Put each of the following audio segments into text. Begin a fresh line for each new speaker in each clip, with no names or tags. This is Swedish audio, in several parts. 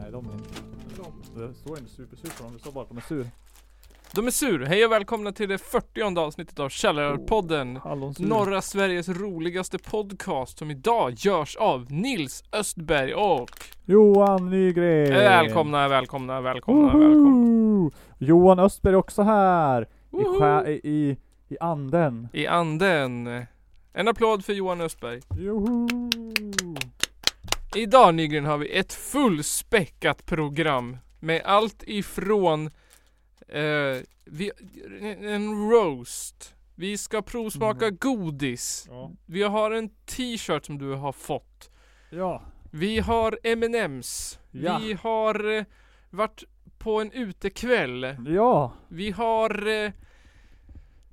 Nej, de är inte... De, det står inte super, super om det står bara att de är sur.
De är sur. Hej och välkomna till det 40 avsnittet av Källarpodden.
Hallonsur.
Norra Sveriges roligaste podcast som idag görs av Nils Östberg och
Johan Nygren!
Eh, Välkomna, välkomna, välkomna,
Eh. Woho!
välkomna.
Johan Östberg är också här! I,
Woho!
sjä, i, i, I anden.
I anden. En applåd för Johan Östberg.
Joho!
Idag Nygren har vi ett fullspäckat program med allt ifrån eh, vi, en roast. Vi ska provsmaka
Mm.
godis.
Ja.
Vi har en t-shirt som du har fått.
ja.
Vi har M&M's.
Ja.
Vi har eh, varit på en utekväll.
Ja.
Vi har eh,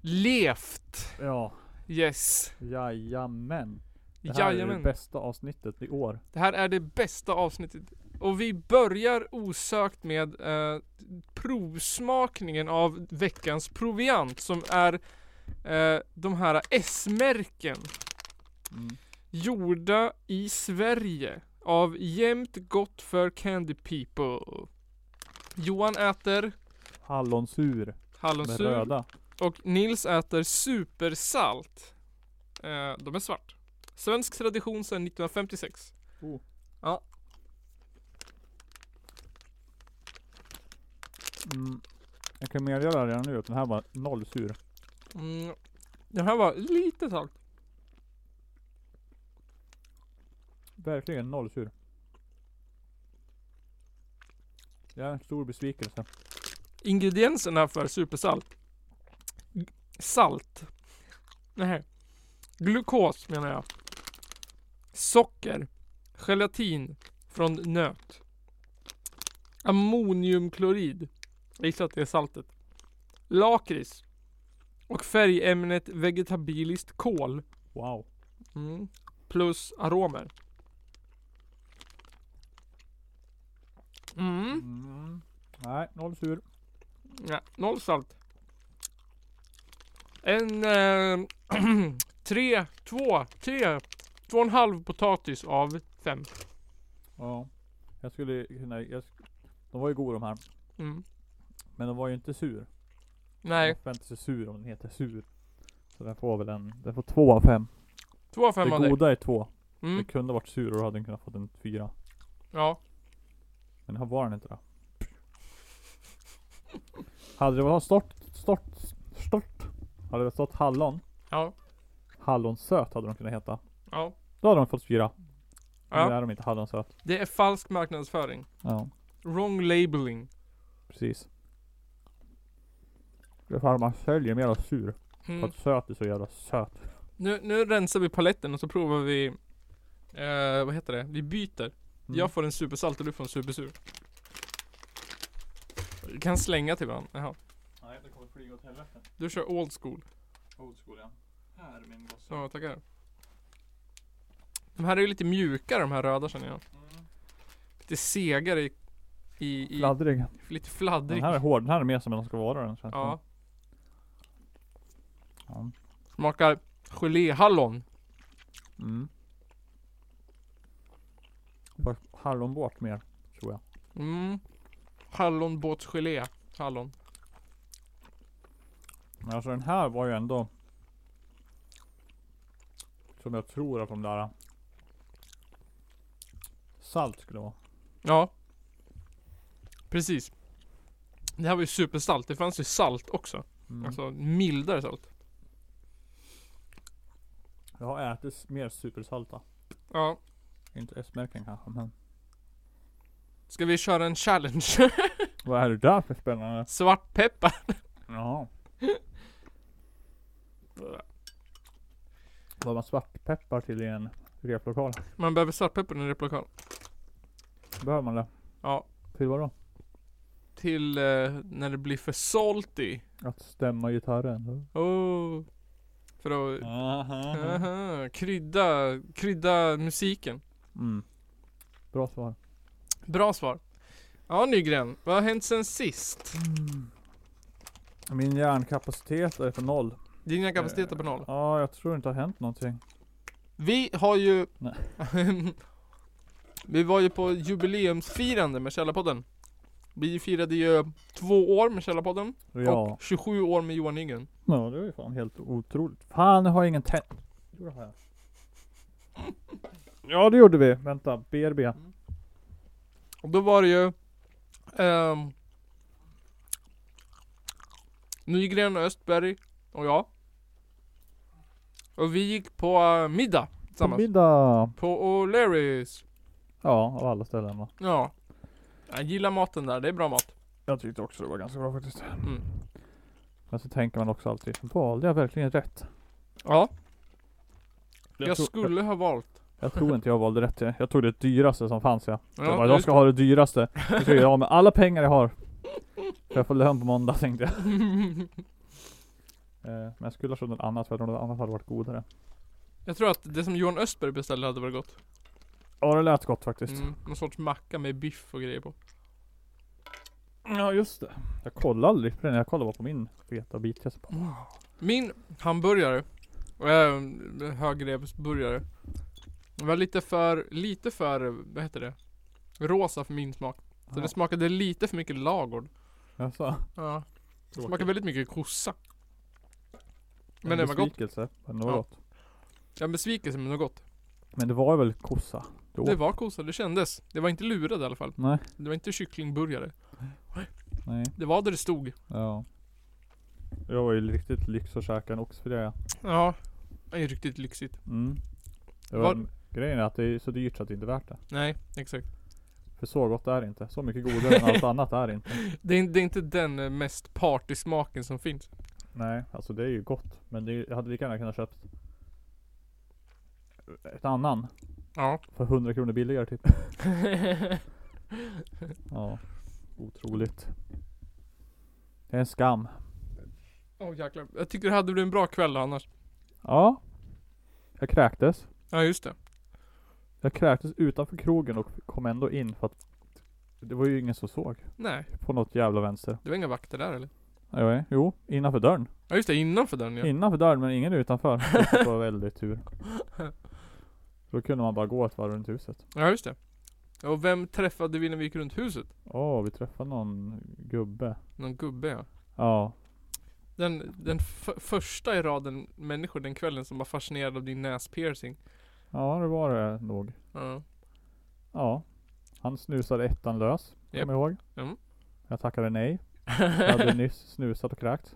levt.
Ja.
Yes.
Jajamän. Det här är det
Jajamän.
bästa avsnittet i år.
Det här är det bästa avsnittet. Och vi börjar osökt med eh, provsmakningen av veckans proviant som är eh, de här S-märken
Mm.
gjorda i Sverige av Jämt Gott för Candy People. Johan äter
Hallonsur. Med
hallonsur
röda.
och Nils äter supersalt. Eh, de är svart. Svensk tradition sedan 1956.
Oh.
Ja.
Mm. Jag kan medgöra redan nu att den här var noll sur.
Mm. Den här var lite salt.
Verkligen noll sur. Det är en stor besvikelse.
Ingredienserna för supersalt. G- Salt. Nej. Glukos menar jag. Socker. Gelatin från nöt. Ammoniumklorid. Jag gissar att det är saltet. Lakrits. Och färgämnet vegetabiliskt kol.
Wow.
Mm. Plus aromer. Mm.
Mm. Nej, noll sur.
Nej, noll salt. En eh, tre, två, tre, två och en halv potatis av fem.
Ja. Jag skulle kunna... Jag, sk- de var ju goda de här.
Mm.
Men de var ju inte sur.
Nej,
Man får inte se sur om den heter sur. Så den får väl en... Den får två av fem.
två av fem av
Det
dig.
goda är två.
Mm.
Det kunde varit sur och då hade den kunnat fått en fyra.
Ja.
Men här var den inte då. Hade det varit stort, stort, stort. Hade det stått hallon.
Ja.
Hallonsöt hade de kunnat heta.
Ja.
Då hade de fått fyra. Men det
ja.
är de inte hallonsöt.
Det är falsk marknadsföring.
Ja,
Wrong labeling.
precis. Det är för att man säljer mer av sur. För
Mm.
att söt är så jävla söt.
Nu, nu rensar vi paletten och så provar vi eh, vad heter det? Vi byter.
Mm.
Jag får en supersalt och du får en supersur. Vi kan slänga till varandra. Jaha.
Nej, det kommer flyga åt helvete.
Du kör old school.
Old school ja. Här är min gosse.
Ja, tackar. De här är ju lite mjukare de här röda känner jag. Lite segare i, i, i
Fladdrig.
lite fladdrig.
Den här är hård. Den här är mer som den ska vara den. känns
Ja.
det som.
Smakar geléhallon.
ja. Mm. Fast Hallonbåt mer, tror jag.
Mm. Hallonbåtsgelé. Hallon.
Men alltså den här var ju ändå Som jag tror att de där Salt skulle vara.
Ja. Precis. Det här var ju supersalt. Det fanns ju salt också.
Mm.
Alltså mildare salt.
Jag har ätit s- mer supersalta.
Ja.
Inte S-märken kanske men.
Ska vi köra en challenge?
Vad är det där för spännande?
Svartpeppar.
Jaha. Vad man svartpeppar till i en replokal.
Man behöver svartpeppar i en replokal.
Behöver man det?
Ja.
Till vadå?
Till eh, när det blir för salty.
Att stämma gitarren?
Oh. För att
Aha.
aha, krydda, krydda musiken.
Mm. Bra svar.
Bra svar. Ja Nygren, vad har hänt sen sist?
Min hjärnkapacitet är på noll.
Dina kapaciteter på noll.
Ja, jag tror inte det har hänt någonting.
Vi har ju...
Nej.
vi var ju på jubileumsfirande med Källarpodden. Vi firade ju två år med Källarpodden
Ja.
och 27 år med Johan Nygren.
ja, det var ju fan helt otroligt. Fan, jag har ingen tänd... Jo, det har jag. Ja, det gjorde vi. Vänta, BRB.
Mm, Och då var det ju... ehm, Nygren, Östberg och jag. Och vi gick på eh, middag
På
tillsammans.
middag.
På O'Learys.
Ja, av alla ställen va.
Ja. Jag gillar maten där, det är bra mat.
Jag tyckte också det var ganska bra faktiskt.
Mm.
Men så tänker man också alltid, valde jag verkligen rätt?
Ja,
Jag,
jag,
tror-
skulle ha valt.
jag, jag tror inte jag valde rätt. Jag jag tog det dyraste som fanns ja.
Ja,
jag, bara, jag
just-
ska ha det dyraste. Jag ska göra av med alla pengar jag har. För jag får lön på måndag tänkte jag. Eh, Men jag skulle ha köpt något annat för jag tror något annat hade varit godare.
Jag tror att det som Johan Östberg beställde hade varit gott.
Ja det lät gott faktiskt.
Mm, någon sorts macka med biff och grejer på.
Ja just det. Jag kollade aldrig på den, jag kollade bara på min feta bit. Jag sa bara,
Min hamburgare, äh, högrevsburgare, var lite för, lite för, vad heter det? Rosa för min smak. Så
Ja.
det smakade lite för mycket lagård.
Jaså?
Ja. Det
Tråkigt.
smakade väldigt mycket kossa.
En
Men det var gott.
besvikelse, Men det var
Ja.
gott.
Jag är besviken men det var gott.
Men det var väl kossa? Då.
Det var kossa, det kändes. Det var inte lurad i alla fall.
Nej.
Det var inte kycklingburgare.
Nej.
Det var där det stod.
Ja. Jag var ju riktigt lyx och käkade en oxfilé. ja.
Ja. Det är riktigt lyxigt.
Mm. Det var,
Var-
Grejen är att det är så dyrt så att det inte är värt det.
Nej, exakt.
För så gott är det inte. Så mycket godare än allt annat är det inte.
Det är, det är inte den eh, mest partysmaken som finns.
Nej, alltså det är ju gott. Men det är, jag hade lika gärna kunnat köpt ett annan.
Ja.
För 100 kronor billigare typ. Ja. Otroligt. Det är en skam.
Åh jäklar. Jag tycker det hade blivit en bra kväll annars.
Ja. Jag kräktes.
Ja just det.
Jag kräktes utanför krogen och kom ändå in för att det var ju ingen som såg.
Nej,
På något jävla vänster.
det var inga vakter där eller?
Jo, Jo, innanför dörren.
Ja just det, innanför den ja.
Innanför dörren men ingen utanför. Det typ var väldigt tur. Då kunde man bara gå ett varv runt huset.
Ja just det. Och vem träffade vi när vi gick runt huset?
Åh, vi träffade någon gubbe.
Någon gubbe ja.
Ja.
Den, den f- första i raden människor den kvällen som var fascinerad av din näspiercing.
Ja, det var det nog.
Ja.
Ja. Han snusade ettan lös.
Japp.
Kommer jag ihåg.
Mm.
Jag tackade nej. Jag hade nyss snusat och kräkt.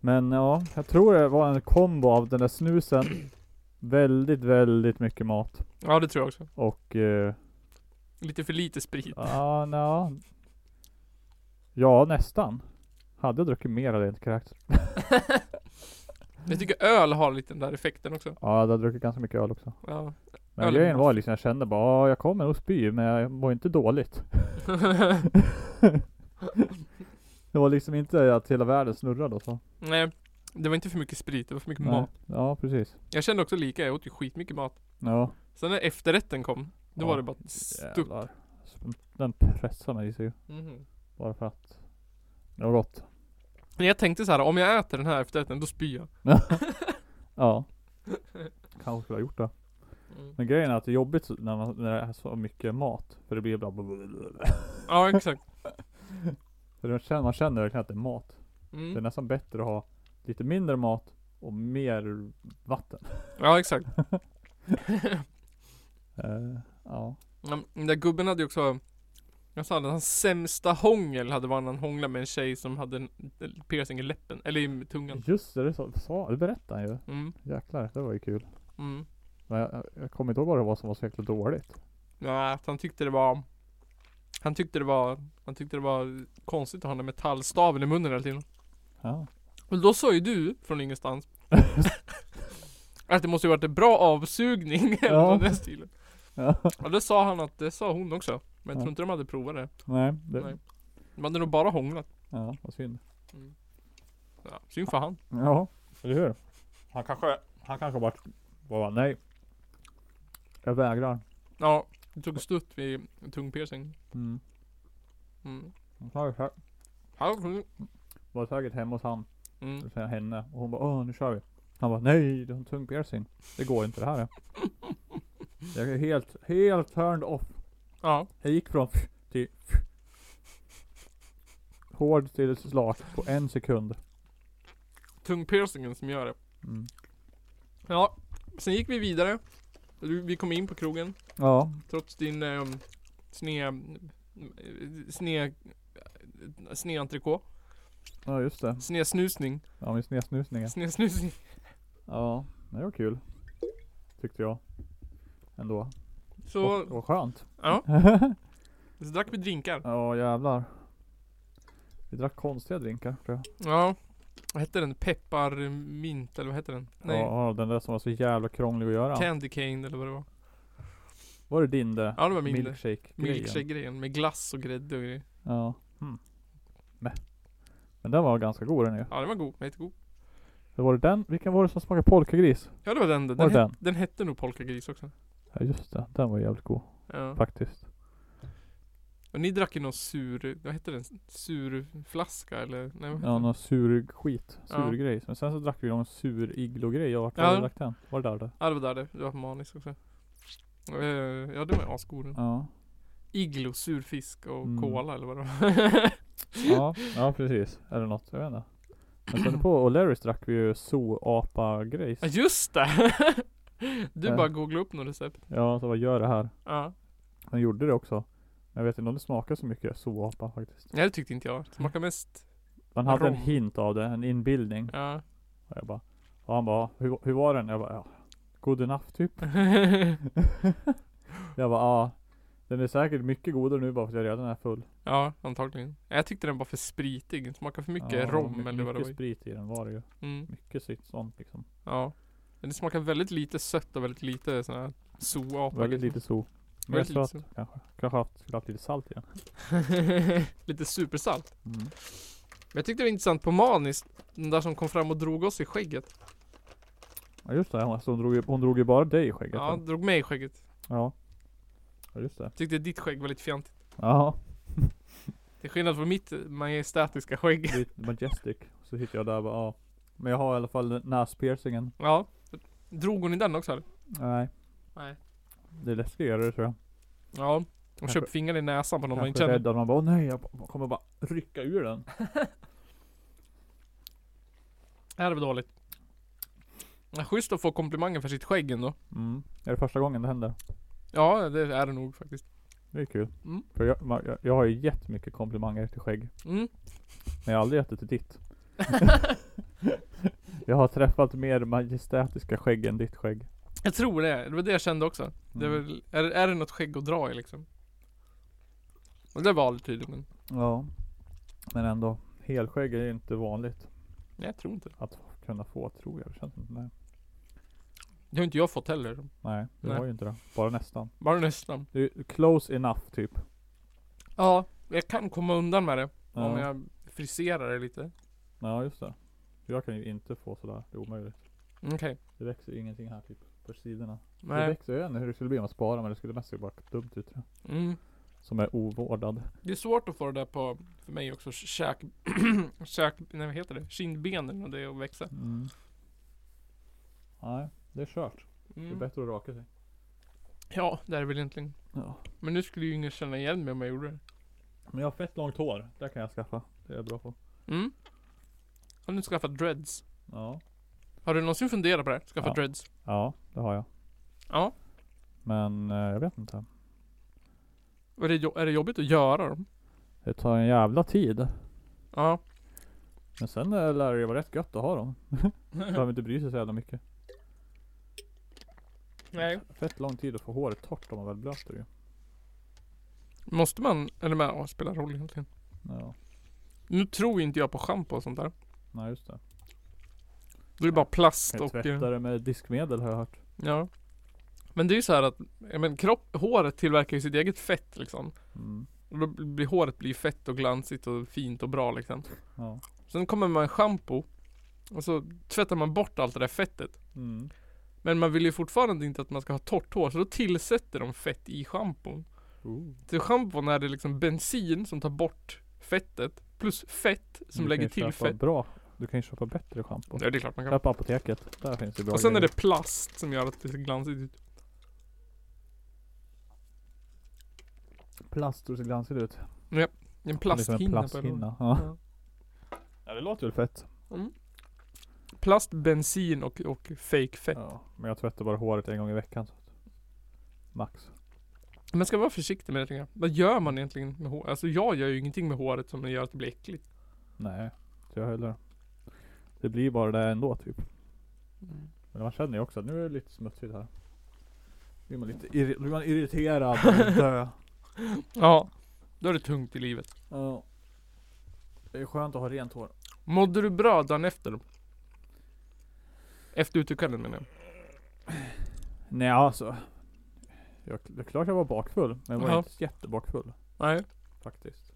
Men ja, jag tror det var en kombo av den där snusen. Väldigt, väldigt mycket mat.
ja det tror jag också.
Och eh,
Lite för lite sprit.
Ja, nja. Ja, nästan. Hade jag druckit mer hade jag inte kräkts.
Jag tycker öl har lite den där effekten också.
Ja, jag hade druckit ganska mycket öl också.
Ja.
Men
Öl är
grejen
bra.
var liksom, jag kände bara, "Ah, jag kommer nog spy, men jag mår inte dåligt. Det var liksom inte att hela världen snurrade och så.
Nej, det var inte för mycket sprit, det var för mycket
Nej.
mat.
Ja, precis.
Jag kände också lika, jag åt ju skitmycket mat.
Ja.
Sen när efterrätten kom, då
Ja,
var det bara stuck.
Jävlar. Den pressar mig sig ju.
Mhm.
Bara för att. Det var gott.
Men jag tänkte så här, om jag äter den här efterrätten, då spyr jag.
Ja. Kanske skulle ha gjort det.
Mm.
Men grejen är att det är jobbigt så- när, man, när det är så mycket mat. För det blir bara
Ja, exakt.
För man känner, man känner verkligen att det är mat. Det är
Mm.
nästan bättre att ha lite mindre mat och mer vatten.
Ja, exakt.
Eh, ja.
Ja, men Den där gubben hade ju också jag sa att hans sämsta hångel hade varit när han hånglade med en tjej som hade en en piercing i läppen, eller i tungan.
Just det, det sa, sa, det berättade han ju.
Mm,
Jäklar, det var ju kul.
mm.
Men jag, jag kommer inte ihåg vad det var som var så jäkla dåligt.
Nej, att han tyckte det var Han tyckte det var Han tyckte det var konstigt att ha den där metallstaven i munnen hela tiden
Ja.
Och då sa ju du från ingenstans Att det måste ju varit en bra avsugning eller
Ja.
något i den stilen
ja.
Och det sa han att det sa hon också Men jag
Ja.
tror inte de hade provat det
Nej, det,
Nej. De hade nog bara hånglat
ja, vad synd.
ja, Synd för han
Ja, eller hur? Han kanske, han kanske bara, bara nej. Jag vägrar.
Ja det tog stutt vid en tung piercing
Mm.
mm.
Han var säkert-
Ja, mm.
var säkert hemma hos han. det
Mm.
vill säga henne. Och hon bara åh nu kör vi. Han bara nej du har en tung piercing. Det går inte det här. Jag är helt, helt turned off.
Ja.
Jag gick från till hård till slak på en sekund.
Tungpiercingen som gör det.
Mm.
Ja. Sen gick vi vidare. Du- Vi kom in på krogen.
Ja,
Trots din eh, sne... Sne... eh, Sneentrekå.
ja just det.
Snesnusning.
Ja min snedsnusningar.
Snesnusning.
Ja, det var kul. Tyckte jag. Ändå.
Så,
Och, och skönt.
ja. Så drack vi drinkar.
Ja jävlar. Vi drack konstiga drinkar tror jag.
Ja. Vad hette den? Pepparmint eller vad hette den? Nej.
Ja, den där som var så jävla krånglig att göra.
Candy cane eller vad det var.
Var det din det?
Ja det var min det.
milkshake
Milkshake-grejen med glass och grädde och grejer.
Ja. Mm. Mäh. Men den var ganska god den ju.
Ja den var god, den var jättegod.
Så var det den? Vilken var det som smakade polkagris?
Ja det var den den.
Var
Den,
det
het,
den?
den hette nog polkagris också.
Ja just det, den var jävligt god
Ja.
faktiskt.
Och ni drack ju någon sur, vad hette den? Surflaska eller? Nej, vad hette
Ja
den?
någon sur skit, sur
Mm. Ja.
grej. Men sen så drack vi någon sur iglo-grej. Ja vart
Ja.
hade vi drack den? Var det där det?
ja det var där det, det var på Manis också. Eh, Ja den var asgod den.
Ja.
Iglo, surfisk och
Mm.
cola eller vad det var.
Ja, ja precis. Eller något, jag vet inte. Men sen på O'Learys drack vi ju zoo-apa-grejs.
Ja just det! Du
Ja.
bara googlade upp något recept.
Ja, så vad gör det här?
Ja.
Han gjorde det också. Men jag vet inte om det smakar så mycket zoo-apa faktiskt.
Nej det tyckte inte jag. Smakar mest,
Man hade en
Rom.
hint av det, en inbildning.
ja.
Och jag bara, och han bara, hur, hur var den? Jag bara, ja, good enough typ. Jag bara, ja. Den är säkert mycket godare nu bara för att jag redan är full.
ja antagligen. Jag tyckte den var för spritig. Den smakade för mycket
Ja, det var
rom
my-
eller vad det var.
Mycket
i.
sprit i den var det ju.
Mm.
Mycket sitt sånt liksom.
Ja. Men det smakar väldigt lite sött och väldigt lite sån här zoapa.
Väldigt lite so. Mer
Väldigt lite
sött kanske. Kanske haft, skulle haft lite salt i den.
lite supersalt.
Mm.
Men jag tyckte det var intressant på Manis, den där som kom fram och drog oss i skägget.
Ja just det, hon, alltså, hon, drog ju, hon drog ju bara dig i skägget.
Ja,
Ja.
drog mig i skägget.
ja. Ja just det.
Tyckte ditt skägg var lite fjantigt.
Ja.
Till skillnad från mitt eh, majestätiska skägg.
Lite majestic. Så sitter jag där och bara, ja. Men jag har i alla fall näspiercingen.
Ja. Drog hon i den också eller?
Nej.
Nej.
Det är läskigare tror jag.
Ja. Hon
Kanske-
köpte fingrarna i näsan på någon man inte
Kanske
känner.
rädd att man bara, åh nej jag b- kommer bara rycka ur den.
Det här är väl dåligt. Ja, schysst att få komplimanger för sitt skägg ändå.
Mm. Är det första gången det händer?
Ja, det är det nog faktiskt.
Det är kul.
Mm.
För jag, ma- jag, jag har ju gett mycket komplimanger till skägg.
Mm.
Men jag har aldrig gett det till ditt. jag har träffat mer majestätiska skägg än ditt skägg.
Jag tror det. Det var det jag kände också. Det är,
Mm.
väl, är, är det något skägg att dra i liksom? Och det var det tydligen.
Mm. Ja. Men ändå. Helskägg är ju inte vanligt
Nej jag tror inte det.
att kunna få tror jag. Det känns inte. Nej.
Det har inte jag fått heller.
Nej, du
Nej.
har ju inte det. Bara nästan.
Bara nästan.
Det är close enough typ.
Ja, jag kan komma undan med det. Om
Ja.
jag friserar det lite.
ja, just det. Jag kan ju inte få sådär. Det är omöjligt.
Okej.
Det växer ju ingenting här typ. På sidorna. Det
Nej.
växer, jag vet inte hur det skulle bli om man sparar men det skulle mest se bara dumt ut tror jag.
Mm.
Som är ovårdad.
Det är svårt att få det där på, för mig också, käk... käk... Nej vad heter det? Kindbenen och det att växa.
Mm. Nej, det är kört. Det är
Mm.
bättre att raka sig.
Ja, det är det väl egentligen.
Ja.
Men nu skulle ju ingen känna igen mig om jag gjorde det.
Men jag har fett långt hår. Det kan jag skaffa. Det är jag bra på.
Mm. Har du skaffat dreads?
Ja.
Har du någonsin funderat på det? här? Skaffa
Ja.
dreads?
Ja, det har jag.
Ja.
Men eh, jag vet inte.
Är det, jo- är det jobbigt att göra dem?
Det tar en jävla tid.
Ja.
Men sen eh, lär det ju vara rätt gött att ha dem. Behöver inte bry sig så jävla mycket.
Nej.
Fett lång tid att få håret torrt om man väl blöter ju.
Måste man, eller men ja, spelar roll egentligen.
Ja.
Nu tror inte jag på schampo och sånt där.
Nej just det.
Då är det bara plast
Kan ju
och... eh,
tvätta det med diskmedel har jag hört.
Ja. Men det är ju så här att, ja, men kropp, håret tillverkar ju sitt eget fett liksom.
Mm.
Och då blir håret blir fett och glansigt och fint och bra liksom.
Ja.
Sen kommer man med schampo. Och så tvättar man bort allt det där fettet.
Mm.
Men man vill ju fortfarande inte att man ska ha torrt hår så då tillsätter de fett i schampon.
Ooh.
Till schampon är det liksom bensin som tar bort fettet plus fett som
Du kan ju
lägger till
köpa
fett.
Bra Du kan ju köpa bättre schampo.
Ja det är klart man
Här
kan.
på apoteket. Där finns det bra
Och sen är
grejer.
det plast som gör att det ser glansigt ut.
plast och det ser glansigt ut.
En
Liksom en
plasthinna. på en-
plasthinna. Ja. ja det låter väl fett.
Plast, bensin och, och fake fett.
Ja. Men jag tvättar bara håret en gång i veckan. Så. att- Max.
Man ska vara försiktig med det tycker jag. Vad gör man egentligen med håret? Alltså jag gör ju ingenting med håret som gör att det blir äckligt.
Nej. Inte jag heller. Det blir bara det ändå typ. Men man känner ju också att nu är det lite smutsigt här. Blir man lite irri- blir man irriterad. och vill dö.
Ja. Då är det tungt i livet.
Ja. Det är skönt att ha rent hår.
Mådde du bra dagen efter? Efter utekvällen menar jag.
Nej alltså. Jag, det är klart jag var bakfull. Men jag var
Jaha.
inte jättebakfull.
Nej.
faktiskt.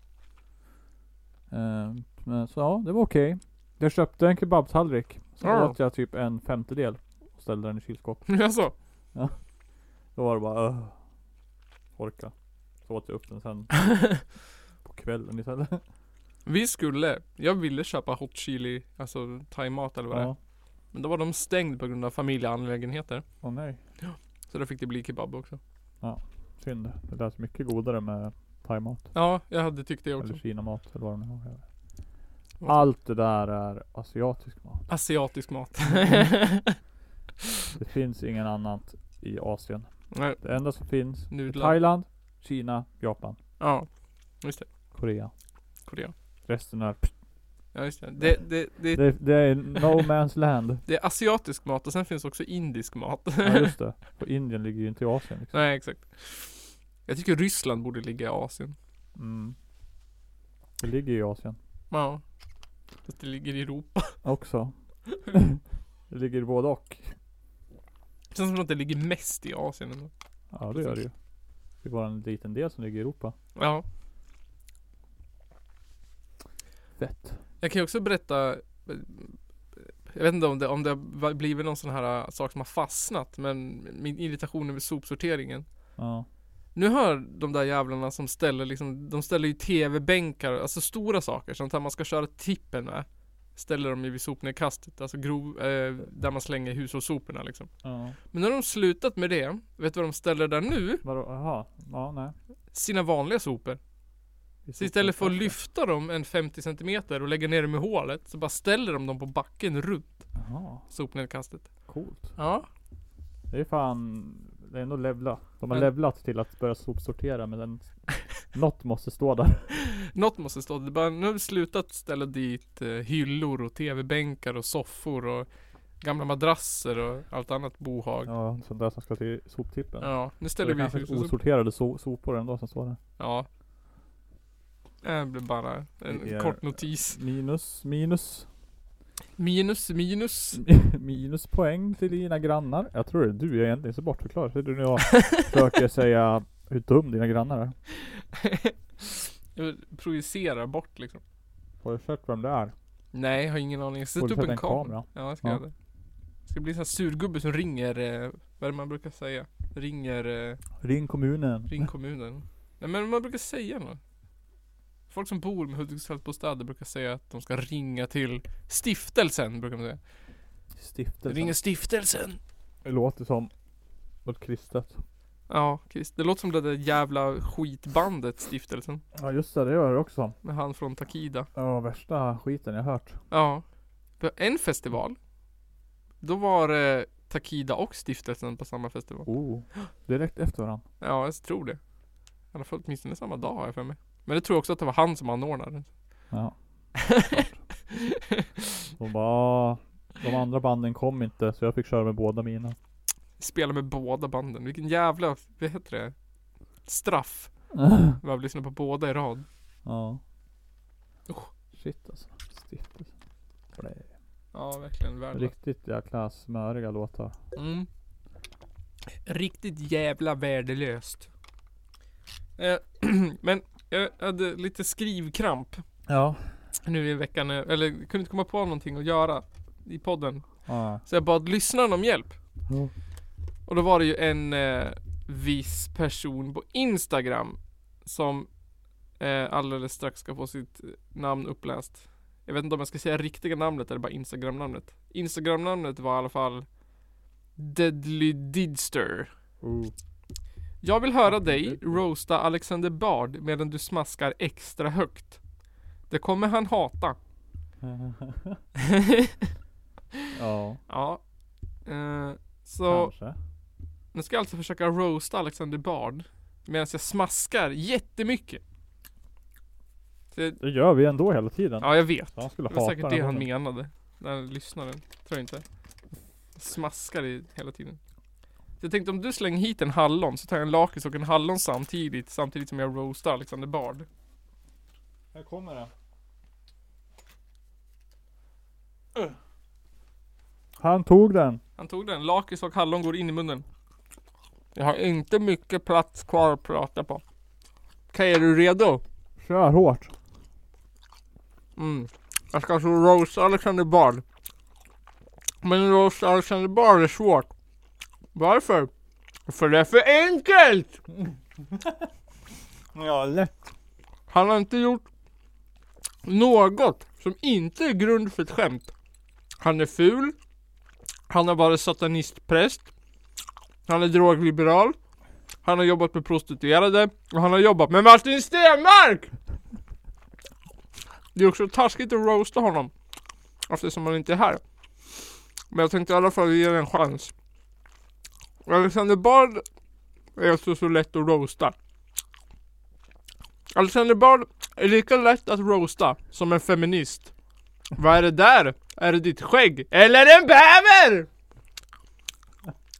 Eh, men så ja, det var okej. Jag köpte en kebabtallrik. Så
Ja.
åt jag typ en femtedel och ställde den i kylskåpet.
Jaså?
Då var det bara öh. Orka. Så åt jag upp den sen på kvällen istället.
Vi skulle, jag ville köpa hot chili, alltså thaimat eller vad det är.
Ja.
Men då var de stängd på grund av familjeangelägenheter.
Åh nej,
Så då fick det bli kebab också.
synd. Det lät mycket godare med thaimat.
Ja, jag hade tyckt det också.
Eller kinamat eller vad det nu är.
Vad-
Allt det där är asiatisk mat.
Asiatisk mat.
Det finns ingen annat i Asien.
Nej,
Det enda som finns är
nudlar.
Thailand, Kina, Japan,
Ja, just det.
Korea.
Korea.
Resten är
Ja, just det. Det, det, det,
Det, det är no man's land.
Det är asiatisk mat och sen finns också indisk mat.
Ja just det. För Indien ligger ju inte i Asien liksom.
Nej exakt. Jag tycker Ryssland borde ligga i Asien.
Mm. Det ligger ju i Asien
Ja. Fast det ligger i Europa.
också. det ligger i både och.
Det känns som att det ligger mest i Asien ändå.
Ja det gör det ju. Det är bara en liten del som ligger i Europa.
Ja.
Fett.
Jag kan ju också berätta Jag vet inte om det, om det har blivit någon sån här äh, sak som har fastnat men min irritation över sopsorteringen.
Ja.
Nu har de där jävlarna som ställer liksom, de ställer ju tv-bänkar, alltså stora saker, sånt här man ska köra tippen med. Ställer de ju vid sopnedkastet, alltså grov, eh, där man slänger hushållssoporna liksom.
Ja.
Men när de slutat med det, vet du vad de ställer där nu?
Vadå? Jaha. Ja nej.
Sina vanliga sopor.
Vi
Så istället för att
fortsätter.
lyfta dem en 50 cm och lägga ner dem i hålet, så bara ställer de dem på backen runt
Jaha.
sopnedkastet.
Coolt.
Ja.
Det är fan. Det är ändå levla. De har
Ja.
levlat till att börja sopsortera men den. Något måste stå där.
Något måste stå. Det bara, nu har vi slutat ställa dit eh, hyllor och tv-bänkar och soffor och gamla madrasser och allt annat bohag. Ja.
Ja sånt där som ska till soptippen.
nu ställer
Eller
vi
kanske
hushållssopor.
osorterade so- sopor ändå som står där.
Ja. Det blev bara en
Det är-
kort notis.
Minus, minus.
Minus, minus.
Minuspoäng till dina grannar. Jag tror det är du, jag är egentligen så bortförklarad. Det är du när jag försöker säga hur dum dina grannar är.
Jag projicerar bort liksom.
Har du sett vem det är?
Nej, jag har ingen aning. Sätt
Borde
upp
sätta
en,
en
kamera.
kamera.
Ja, jag ska
Ja.
göra det. Det ska bli en sån här surgubbe som ringer, eh, vad är det man brukar säga? Ringer, eh,
Ring kommunen.
ring kommunen. Nej men man brukar säga något. Folk som bor med Hudiksvallsbostäder brukar säga att de ska ringa till stiftelsen, brukar man säga.
Stiftelsen.
Ringa stiftelsen!
Det låter som något kristet.
Ja, Chris. Det låter som det där jävla skitbandet Stiftelsen.
Ja just det, det gör det också.
Med han från Takida.
Ja värsta skiten jag hört.
Ja. På En festival. Då var det Takida och Stiftelsen på samma festival.
Oh. Direkt efter varandra.
Ja, jag tror det. I alla fall åtminstone samma dag har jag för mig. Men det tror jag också att det var han som anordnade.
Ja. De bara, "Ah, de andra banden kom inte så jag fick köra med båda mina.
Spela med båda banden. Vilken jävla, vad heter det? Straff. Vi har lyssnat på båda i rad.
Ja.
Usch.
Shit alltså. Stiftelsen. Nej.
Ja, verkligen värdelöst.
Riktigt jäkla smöriga låtar.
Mm. Riktigt jävla värdelöst. Eh, Men jag hade lite skrivkramp
Ja.
nu i veckan. eh, Eller kunde inte komma på någonting att göra i podden.
ja.
Så jag bad lyssnarna om hjälp. Och då var det ju en eh, viss person på Instagram som eh, alldeles strax ska få sitt eh, namn uppläst. Jag vet inte om jag ska säga riktiga namnet eller bara Instagram-namnet. Instagram-namnet var i alla fall Deadly Didster.
Oh.
Jag vill höra dig roasta Alexander Bard medan du smaskar extra högt. Det kommer han hata.
ja,
ja. Eh, så
kanske.
nu ska jag alltså försöka roasta Alexander Bard medan jag smaskar jättemycket. Så,
Det gör vi ändå hela tiden.
ja, jag vet.
Så han skulle
Det var
hata den
säkert det
här
han
podden.
menade. Den lyssnaren. Tror jag inte. Smaskar i hela tiden. Så jag tänkte om du slänger hit en hallon så tar jag en lakrits och en hallon samtidigt. Samtidigt som jag roastar Alexander Bard.
Här kommer den. Han tog den.
Han tog den. Lakrits och hallon går in i munnen. Jag har inte mycket plats kvar att prata på. Okej, är du redo?
Kör hårt.
Mm. Jag ska alltså roasta Alexander Bard. Men roasta Alexander Bard är svårt. Varför? För det är för enkelt!
Ja, lätt.
Han har inte gjort något som inte är grund för ett skämt. Han är ful. Han har varit satanistpräst. Han är drogliberal. Han har jobbat med prostituerade. Och han har jobbat med Martin Stenmark! Det är också taskigt att roasta honom. Eftersom han inte är här. Men jag tänkte i alla fall ge den en chans. Alexander Bard är alltså så lätt att roasta. Alexander Bard är lika lätt att roasta som en feminist. Vad är det där? Är det ditt skägg? Eller en bäver?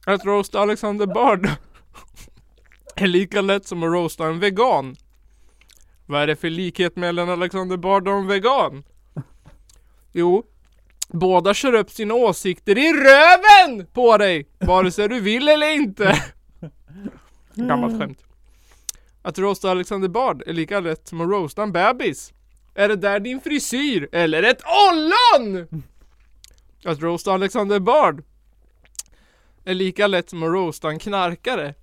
Att roasta Alexander Bard är lika lätt som att roasta en vegan. Vad är det för likhet mellan Alexander Bard och en vegan? Jo, båda kör upp sina åsikter i röven på dig! Vare sig du vill eller inte. Gammalt skämt. Att roasta Alexander Bard är lika lätt som att roasta en bebis. Är det där din frisyr? Eller ett ollon? Att roasta Alexander Bard är lika lätt som att roasta en knarkare.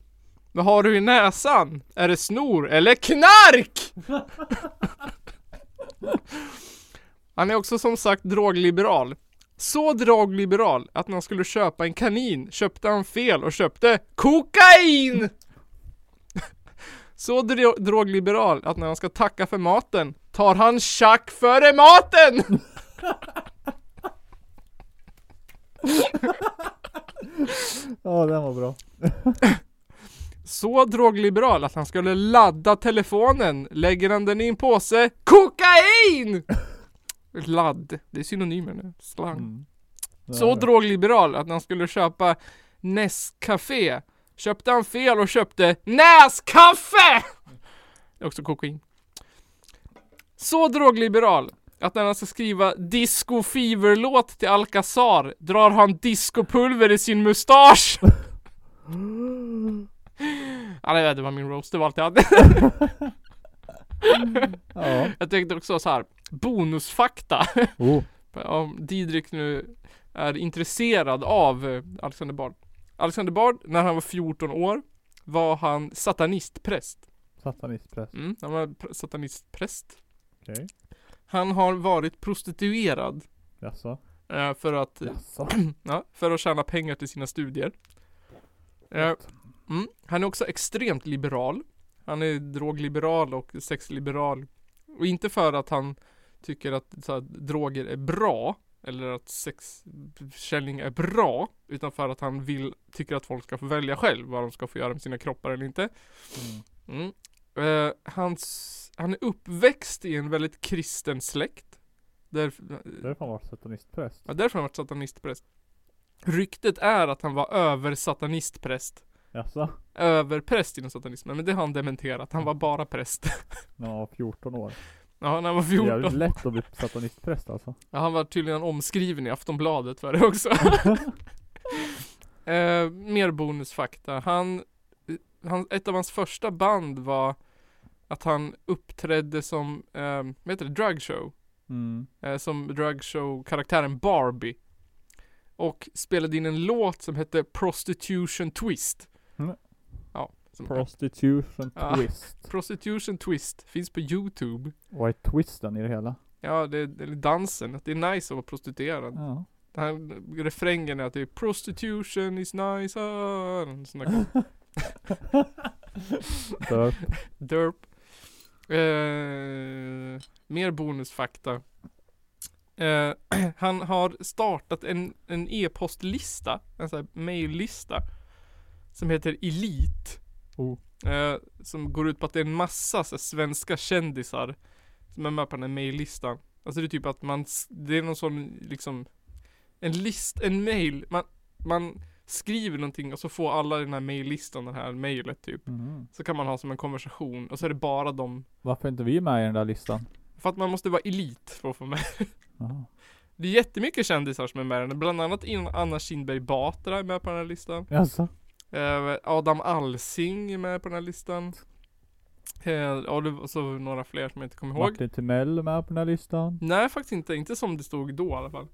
Vad har du i näsan? Är det snor eller knark? Han är också som sagt drogliberal. Så drogliberal att när han skulle köpa en kanin köpte han fel och köpte kokain! Så dro drogliberal att när han ska tacka för maten tar han tjack före maten!
Ja, den var bra.
Så drogliberal att han skulle ladda telefonen lägger han den i en påse kokain! Ladd, det är synonymer nu. Slang.
Mm. Den
Så
var bra.
drogliberal att när han skulle köpa Nescafé köpte han fel och köpte NÄSKAFFE! Det är också kokain. Så drogliberal att när han ska skriva Disco Fever-låt till Alcazar drar han discopulver i sin mustasch! ja, det där, det var min roast, det var allt jag hade.
Ja.
Jag tänkte också så här. bonusfakta.
Oh.
om Didrik nu är intresserad av eh, Alexander Bard. Alexander Bard, när han var 14 år, var han satanistpräst.
Satanistpress.
Mm, han var pr- satanistpräst.
Okej.
Han har varit prostituerad
Jaså?
eh, för, att,
Jaså?
ja, för att tjäna pengar till sina studier. Eh, mm, han är också extremt liberal. Han är drogliberal och sexliberal. Och inte för att han tycker att så här, droger är bra eller att sexförsäljning är bra utan för att han vill, tycker att folk ska få välja själv vad de ska få göra med sina kroppar eller inte. Mm. Eh, hans, han är uppväxt i en väldigt kristen släkt. Där,
Det är fan varit satanistpress.
ja, därför har han varit satanistpräst. Ryktet är att han var översatanistpräst.
Jaså?
Överpräst inom satanismen, men det har han dementerat. Han var bara präst.
När man var 14 år.
Ja, när han var
Det är jävligt
14.
lätt att bli satanistpräst alltså.
Ja, han var tydligen omskriven i Aftonbladet för det också. eh, mer bonusfakta. Han, han, ett av hans första band var att han uppträdde som, eh, vad heter det, dragshow.
Mm.
eh, som dragshow-karaktären Barbie. Och spelade in en låt som hette Prostitution Twist.
Mm.
Ja, som,
Prostitution
Mm. Ja.
twist.
Prostitution Twist finns på Youtube.
Vad är twisten i det hela?
Ja, det är eller dansen. Att det är nice att vara prostituerad.
Ja.
Den här refrängen är att det är prostitution is nice. Sådana
Dörp.
Derp. Eh, mer bonusfakta. Eh, han har startat en, en e-postlista, en sån här maillista. Som heter Elite.
Oh.
Eh, som går ut på att det är en massa så här, svenska kändisar som är med på den här maillistan. Alltså det är typ att man, s- det är någon sån liksom, en list, en mail, man, man skriver någonting och så får alla i den här maillistan, den här mailet typ.
Mhm.
Så kan man ha som en konversation och så är det bara dem.
Varför är inte vi med i den där listan?
För att man måste vara elit för att få med.
Jaha.
Det är jättemycket kändisar som är med i den. Bland annat in- Anna Kinberg Batra är med på den här listan.
Jaså?
Eh, Adam Alsing är med på den här listan. Eh, ja, det var så några fler som jag inte kommer ihåg.
Martin Timell är med på den här listan.
Nej, faktiskt inte. Inte som det stod då i alla fall.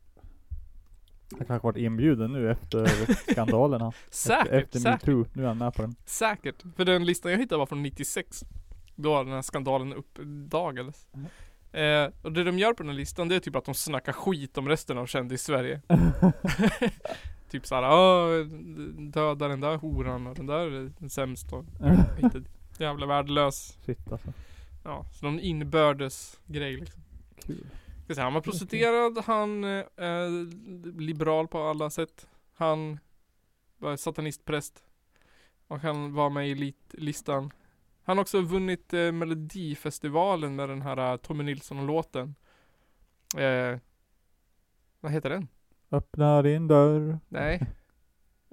Han kanske varit inbjuden nu efter skandalerna.
Säkert,
efter
säkert,
metoo. Nu är han med på den.
säkert. För den listan jag hittade var från 96. Då den här skandalen uppdagades.
Mm.
Eh, och det de gör på den här listan det är typ att de snackar skit om resten av kändis-Sverige. typ såhär, "Åh, döda den där horan och den där är sämst och skit i- jävla värdelös.
Shit alltså.
Ja, så någon inbördes grej liksom.
Kul.
Ska säga, han var prostituerad, han eh, eh, liberal på alla sätt. Han var satanistpräst. Och han var med i elitlistan. Han har också vunnit eh, Melodifestivalen med den här eh, Tommy Nilsson-låten. Eh, vad heter den?
Öppna din dörr.
Nej.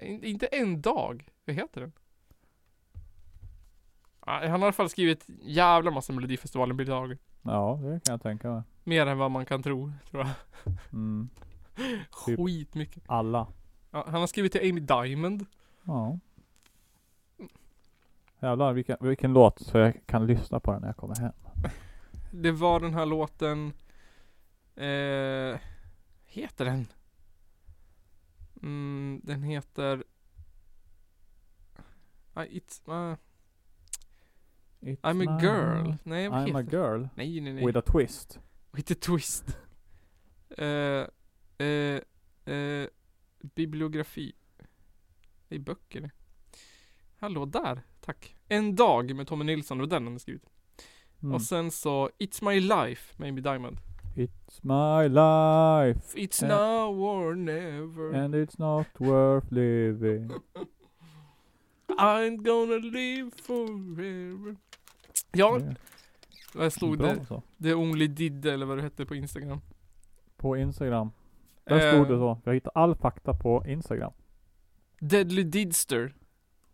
In, inte en dag. Vad heter den? Ah, han har i alla fall skrivit jävla massa Melodifestivalen-bidrag.
Ja, det kan jag tänka mig.
Mer än vad man kan tro, tror jag.
Mm. Typ.
Skitmycket.
Alla.
Ja, han har skrivit till Amy Diamond.
Ja. Jävlar vilken, vilken låt så jag kan lyssna på den när jag kommer hem.
Det var den här låten... Eh, heter den? Mm, den heter... I, it's, uh,
It's
I'm a
my
girl.
life.
Nej, vad
I'm
heter
a
den?
girl.
Nej, nej, nej.
With a twist.
With a twist. Eh, eh, eh, bibliografi. Det är böcker det. Hallå där, tack. En dag med Tommy Nilsson, det var den han hade skrivit.
Mm.
Och sen så It's My Life med Amy Diamond.
It's my life.
It's
Eh.
now or never.
And it's not worth living.
I'm gonna live forever. Ja,
Det är
där stod
Mm. bra
det.
så.
The Only Did eller vad det hette på Instagram.
På Instagram. Där stod det
Eh,
så. Jag hittade all fakta på Instagram.
Deadly Didster.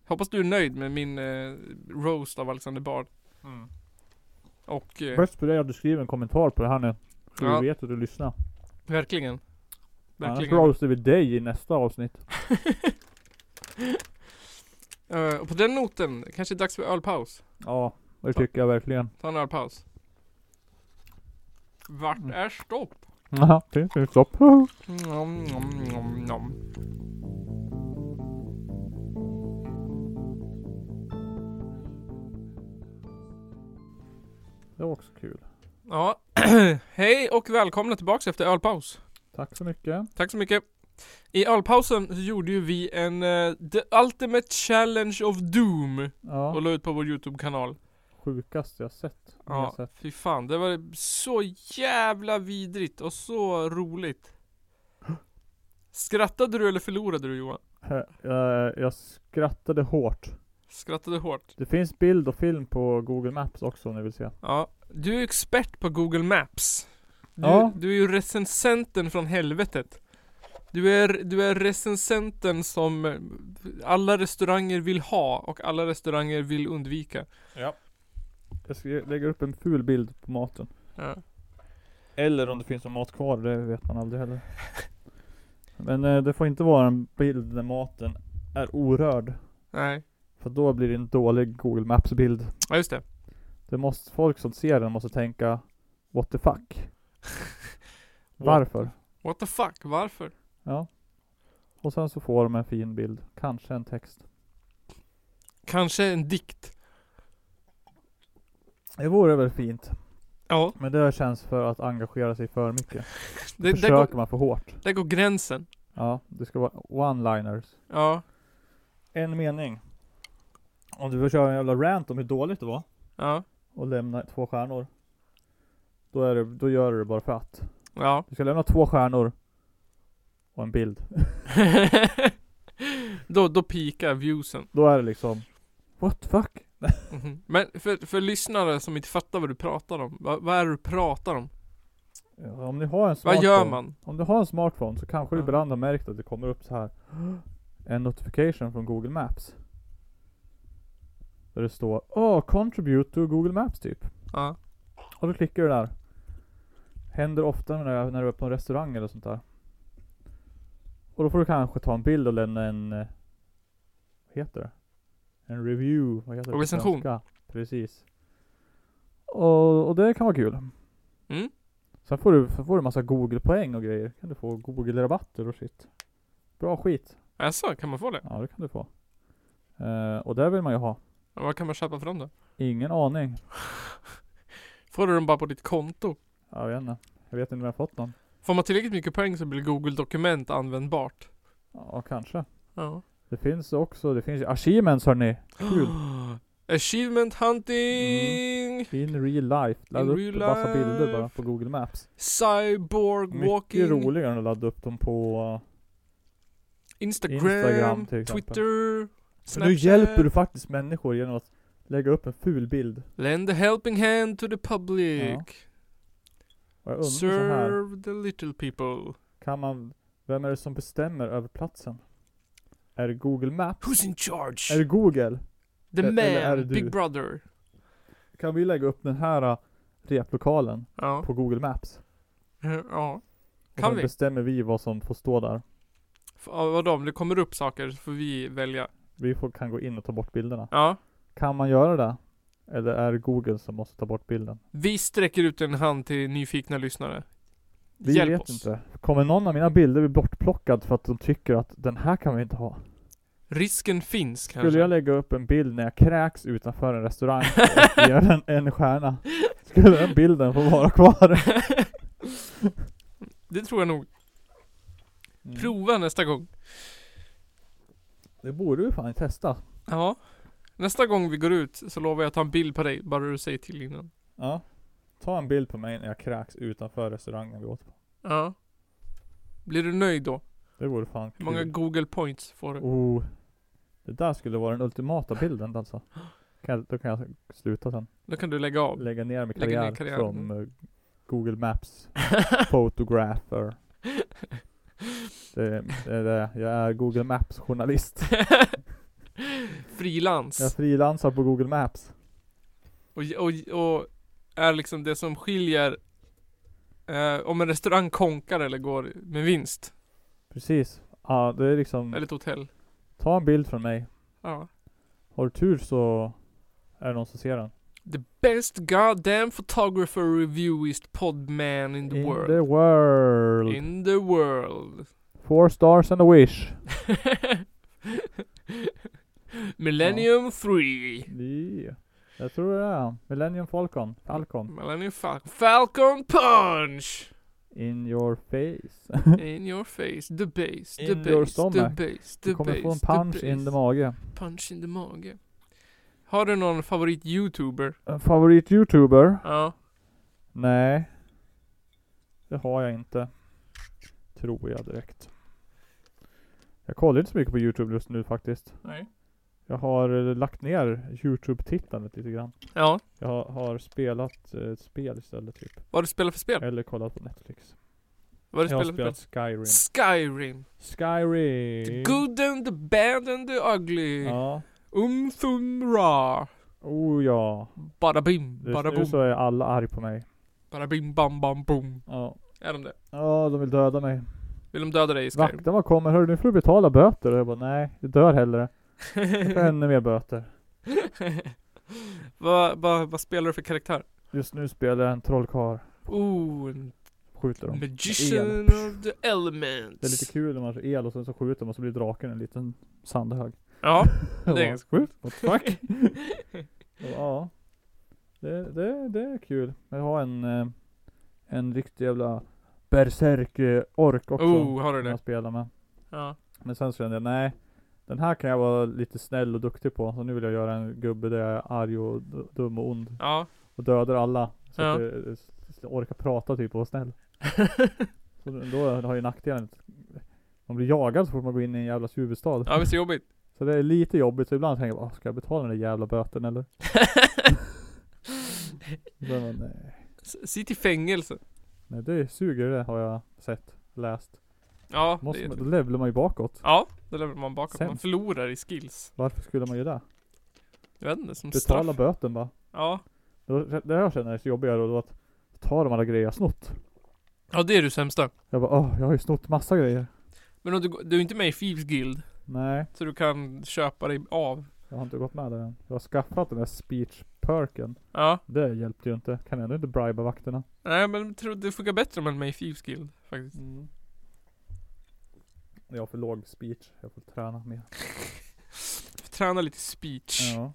Hoppas du är nöjd med min eh, roast av Alexander Bard. Mm. Och eh,
Bäst på dig att du skriver en kommentar på det här nu. Så
Ja.
vi vet att du lyssnar.
verkligen.
Annars
Verkligen.
roastar vi dig i nästa avsnitt.
Eh, och på den noten, kanske det är dags för ölpaus.
Ja, det tycker jag verkligen.
Ta en ölpaus. Vart
Mm.
är stopp?
Jaha, det finns stopp.
Nom, nom, nom, nom.
Det var också kul.
Ja, hej och välkomna tillbaks efter ölpaus.
Tack så mycket.
Tack så mycket. I ölpausen så gjorde ju vi en eh, The Ultimate Challenge of Doom och
Ja,
la ut på vår YouTube-kanal.
sjukaste jag sett. Jag har
Ja,
sett.
fy fan. Det var så jävla vidrigt och så roligt. Skrattade du eller förlorade du Johan?
Eh, eh, Jag skrattade hårt.
Skrattade hårt.
Det finns bild och film på Google Maps också om ni vill se.
Ja, du är ju expert på Google Maps. Du,
Ja.
du är ju recensenten från helvetet. Du är, du är recensenten som eh, alla restauranger vill ha och alla restauranger vill undvika.
Jag ska lägga upp en ful bild på maten.
Ja.
Eller om det finns någon mat kvar, det vet man aldrig heller. Men eh, det får inte vara en bild där maten är orörd.
Nej,
För då blir det en dålig Google Maps bild.
ja just det.
Det måste, folk som ser den måste tänka What the fuck? Varför?
What the fuck, varför?
Ja. Och sen så får de en fin bild. Kanske en text.
Kanske en dikt.
Det vore väl fint.
Ja,
Men det känns för att engagera sig för mycket.
det, där, går,
Försöker man för hårt.
där går gränsen.
Ja, det ska vara one-liners.
Ja,
En mening. Om du vill köra en jävla rant om hur dåligt det var
ja,
och lämna två stjärnor. Då, är det, då gör du det bara för att.
ja.
Du ska lämna två stjärnor och en bild.
då, då pikar viewsen.
Då är det liksom What the fuck?
Mhm. Men för, för lyssnare som inte fattar vad du pratar om. Vad, vad är det du pratar om?
Ja, Om ni har en smartphone.
Vad gör man?
Om du har en smartphone så kanske du
Ja.
ibland har märkt att det kommer upp så här En notification från Google Maps. Där det står Åh, contribute to Google Maps typ.
Ja,
Och då klickar du där. Händer ofta när jag- när du är på en restaurang eller sånt där. Och då får du kanske ta en bild och lämna en... eh, Vad heter det? En review. Vad heter det på
Recension.
svenska? Precis. Och, och det kan vara kul.
Mm.
Sen får du, sen får du massa Google-poäng och grejer. Kan du få Google-rabatter och shit. Bra skit.
Jaså, kan man få det?
Ja, det kan du få. Eh, och det vill man ju ha.
Men Vad kan man köpa för dem då?
Ingen aning.
Får du dem bara på ditt konto?
Jag vet inte. Jag vet inte om jag har fått någon.
Får man tillräckligt mycket poäng så blir Google dokument användbart.
Ja, kanske.
Ja.
Det finns också, det finns ju achievements hörni. Kul. Mm.
Achievement hunting!
In real life. Ladda
In
upp
real
massa bilder
life.
bara på Google Maps.
Cyborg walking
Mycket roligare än att ladda upp dem på... eh,
Instagram,
Instagram till exempel.
Twitter,
För nu hjälper du faktiskt människor genom att lägga upp en ful bild.
Lend a helping hand to the public.
Och jag undrar så här.
Serve the little people.
Kan man... Vem är det som bestämmer över platsen? Är det Google Maps?
Who's in
Är
charge?
det Google?
The
eller är det
man,
du?
Big Brother.
Kan vi lägga upp den här äh, replokalen
Ja.
på Google Maps?
ja.
Och
Kan
sen
vi?
bestämmer vi vad som får stå där.
F- ja, Vadå, om det kommer upp saker så får vi välja.
Vi får, kan gå in och ta bort bilderna.
Ja.
Kan man göra det? Eller är det Google som måste ta bort bilden?
Vi sträcker ut en hand till nyfikna lyssnare.
Vi
Hjälp
vet
oss.
inte. Kommer någon av mina bilder bli bortplockad för att de tycker att den här kan vi inte ha?
Risken finns kanske.
Skulle jag lägga upp en bild när jag kräks utanför en restaurang och ge den en stjärna? Skulle den bilden få vara kvar?
det tror jag nog.
Mm.
Prova nästa gång.
Det borde vi fan testa.
Ja. Nästa gång vi går ut så lovar jag att ta en bild på dig, bara du säger till innan.
Ja. Ta en bild på mig när jag kräks utanför restaurangen vi åt på.
Ja. Blir du nöjd då?
Det vore fan
Hur många
kul.
Google points får du?
Oh. Det där skulle vara den ultimata bilden alltså. Kan jag, då kan jag sluta sen.
Då kan du lägga av.
Lägga ner min
Lägga ner
karriär,
karriären.
som eh, Google Maps photographer. Det, det, är det. Jag är Google Maps journalist. Jag
Frilans.
frilansar på Google Maps.
Och, och, och är liksom det som skiljer eh, om en restaurang konkar eller går med vinst.
Precis. Ja, det är liksom.
Eller ett hotell.
Ta en bild från mig.
Ja.
Har du tur så är det någon som ser den.
The best goddamn photographer reviewist podman in the
In
world.
the world.
In the world.
Four stars and a wish.
Millennium 3.
Yeah. Jag tror det är han. Millennium Falcon. Falcon.
Millennium Fal- Falcon Punch!
In your face.
In your face, the base, the
In your
base, the
stomach.
base, the
Du kommer
base,
få en
the
punch in
base.
the mage.
Punch in the mage. Har du någon favorit-youtuber?
En favorit-youtuber?
Ja.
Nej. Det har jag inte. Tror jag direkt. Jag kollar inte så mycket på Youtube just nu faktiskt.
Nej.
Jag har eh, lagt ner Youtube-tittandet lite grann.
Ja.
Jag har, har spelat eh, ett spel istället typ.
Vad har du spelat för spel?
Eller kollat på Netflix.
Vad har du
Jag har
spelat för
spelat
spel?
Skyrim.
Skyrim. The
Skyrim!
good and the bad and the ugly.
Ja.
Um thum ra.
Oh ja.
Bada bim,
Just
bada
nu
boom.
så är alla arg på mig.
Bada bim, bam, bam, boom.
Ja.
Är de det?
Ja, de vill döda mig.
Vill de döda dig i Skyrim?
Vakterna kommer, hörru nu får du betala böter. Och jag bara, nej, jag dör hellre. Jag får ännu mer böter.
vad, vad, vad spelar du för karaktär?
Just nu spelar jag en trollkarl.
Oh, en
Skjuter dem.
magician
El.
of the elements.
Det är lite kul när man kör el och sen så skjuter man och så blir draken en liten sandhög.
Ja,
Jag bara,
ganska
"What the fuck?" Jag bara, Ja. Det, det, det är kul. Jag har en, eh, en riktig jävla berserk-ork också.
Oh, har du
som
det?
jag spelar med.
Ja.
Men sen så kände jag, nej. Den här kan jag vara lite snäll och duktig på. Så nu vill jag göra en gubbe där jag är arg och d- dum och ond.
Ja.
Och dödar alla. Så
Ja.
att jag, eh, s- s- orkar prata typ och vara snäll. Så då- då har ju nackdelen att man blir jagad så fort man går in i en jävla huvudstad.
ja, visst är det jobbigt?
Så det är lite jobbigt. Så ibland tänker jag, bara, "Ah, ska jag betala den där jävla böten eller? Men, man, nej.
S- Sitt i fängelse.
Nej det suger det har jag sett, läst.
Ja, det
Måste
är
man, då levlar man ju bakåt.
Ja, det lever man bakåt. Man
Sämst.
förlorar i skills.
Varför skulle man ju det?
Jag vet inte, som
Betala
straff.
böten bara.
Ja.
Det, det jag känner är så jobbigare då att ta de alla grejer jag snott.
ja, det är du sämsta.
Jag bara åh, jag har ju snott massa grejer.
Men om du, går- du är inte med i Thieves Guild,
Nej,
så du kan köpa dig av.
jag har inte gått med där än. Jag har skaffat den där speech perken.
Ja.
Det hjälpte ju inte. Kan jag ändå inte briba vakterna.
Nej, men jag tror det funkar bättre om man är med i Thieves Guild, faktiskt.
Jag har för låg speech. Jag får träna mer.
Träna lite speech. Ja.
Ja.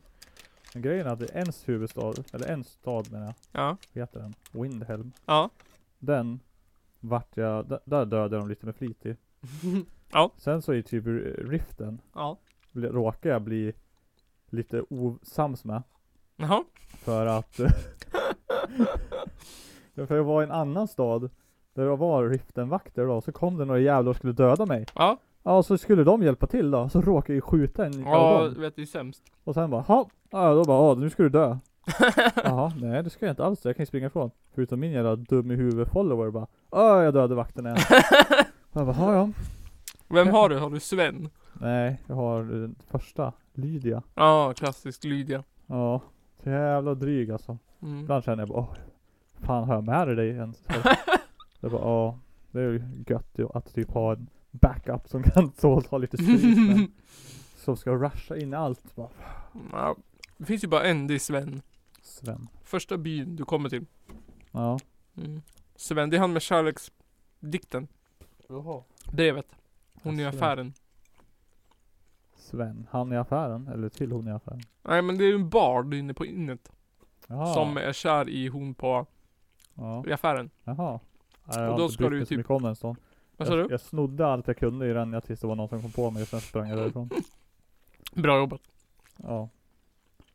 Men grejen är att det är ens huvudstad, eller en stad menar jag.
Ja.
Vad heter den? Windhelm.
Ja.
Den vart jag, d- där dödade de lite med flit i.
Ja.
Sen så i typ r- riften bli- råkar jag bli lite osams med.
Jaha.
För att För jag var i en annan stad där det var riftenvakter då, så kom det några jävlar och skulle döda mig.
Ja.
Ja, och så skulle de hjälpa till då, så råkade jag ju skjuta en av
Ja,
dem.
vet du, sämst.
Och sen bara, ha, ja, då bara, ja, nu ska du dö. Jaha, nej det ska jag inte alls, jag kan ju springa ifrån. Förutom min jävla dum i huvudet follower bara, ja, jag dödade vakten igen. Jag bara, "Ja, ja.
Vem har du? Har du Sven?
Nej, jag har den första, Lydia.
Ja, klassisk Lydia.
Ja, så jävla dryg alltså.
Mm.
Ibland känner jag bara, åh, fan har jag med dig ens? Så jag bara, ja, det är ju gött ju att typ ha en backup som kan så ta lite stryk men som ska rusha in i allt. Bara,
Ja. Det finns ju bara en, det är Sven.
Sven.
Första byn du kommer till.
Ja.
Mm. Sven, det är han med kärleksdikten.
Jaha.
Brevet. Hon i
Sven.
affären.
Sven, han i affären, eller till hon i affären.
Nej men det är ju en bard inne på innet.
Jaha.
Som är kär i hon på
Ja.
i affären.
Jaha. Nej, Jag
Och
har
då
inte
ska
brytt
du ju
mig så
typ-
mycket om den stan.
Vad sa
jag,
du?
jag snodde allt jag kunde i den, jag tills det var någon som kom på mig och sen sprang jag därifrån.
Bra jobbat.
Ja.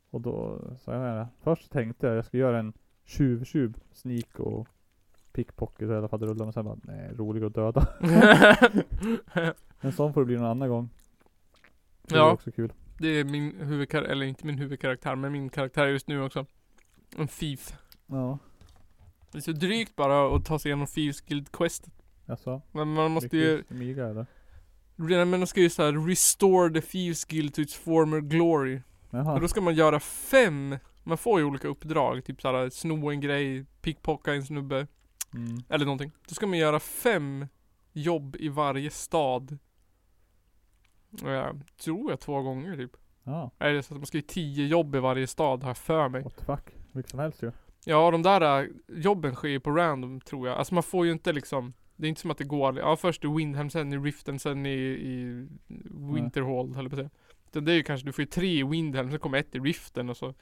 Och då, så jag menar, först tänkte jag jag ska göra en tjuv-tjuv, sneak och pickpocket och hela faderullan men sen bara nej, rolig att döda. En sån får det bli någon annan gång. Det är
Ja.
också kul.
det är min huvudkaraktär, eller inte min huvudkaraktär men min karaktär just nu också. En thief.
Ja.
Det är så drygt bara att ta sig igenom Thieves Guild Quest.
Alltså,
Men man måste
mycket
ju,
smyga eller?
redan men de ska ju så här restore the Thieves Guild to its former glory. Och
Jaha.
då ska man göra fem, man får ju olika uppdrag. Typ såhär sno en grej, pickpocka en snubbe.
Mm.
Eller någonting. Då ska man göra fem jobb i varje stad. Och Jag tror jag två gånger typ.
Ja.
Eller så att man ska göra tio jobb i varje stad har jag för mig.
What the fuck. Vilket som helst ju.
Ja de där äh, jobben sker ju på random tror jag. Alltså man får ju inte liksom det är inte som att det går, ja först i Windham, sen i Riften, sen i, i Winterhall höll jag på att säga. Utan det är ju kanske, du får ju tre i Windham, sen kommer ett i Riften och så.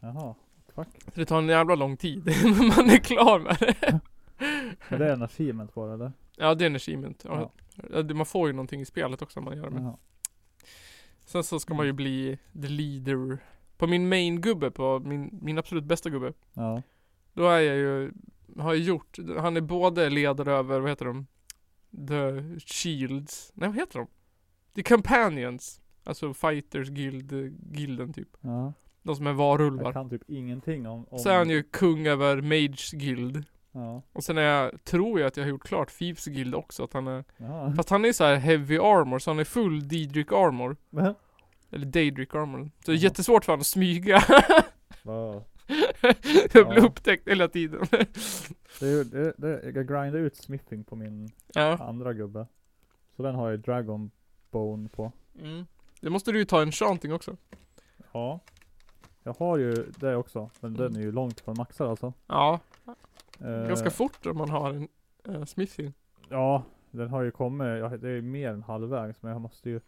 Jaha. What the fuck.
Så det tar en jävla lång tid innan man är klar med det.
Men det är en achievement bara eller?
Ja det är en achievement. Ja.
Ja.
Ja. det- Man får ju någonting i spelet också om man gör det med.
Jaha.
Sen så ska
Mm.
man ju bli the leader. På min main gubbe, på min, min absolut bästa gubbe.
Ja.
Då är jag ju, har jag gjort, han är både ledare över, vad heter de? The Shields, nej vad heter de? The Companions. Alltså Fighters Guild, gilden typ.
Ja.
De som är
Jag
varulvar.
kan typ ingenting om... om...
Så är han ju kung över Mages Guild.
Ja.
Och sen är jag, tror jag att jag har gjort klart Thieves Guild också. Att han är,
Jaha.
fast han är så här heavy armor, så han är full Daedric armor.
Men.
Eller Daedric armor. Så det är
Ja.
jättesvårt för honom att smyga.
Wow.
Jag blir
Ja.
upptäckt hela tiden.
Det är, ju- det, det, jag grindar ut smiffing på min
ja.
andra gubbe. Så den har jag Dragon Bone på.
Mm. Det måste du ju ta en chanting också.
Ja. Jag har ju det också, men den
Mm.
är ju långt från maxad alltså.
Ja,
Eh,
ganska fort om man har en uh, smithy.
Ja, den har ju kommit, ja, det är ju mer än halvvägs men jag måste ju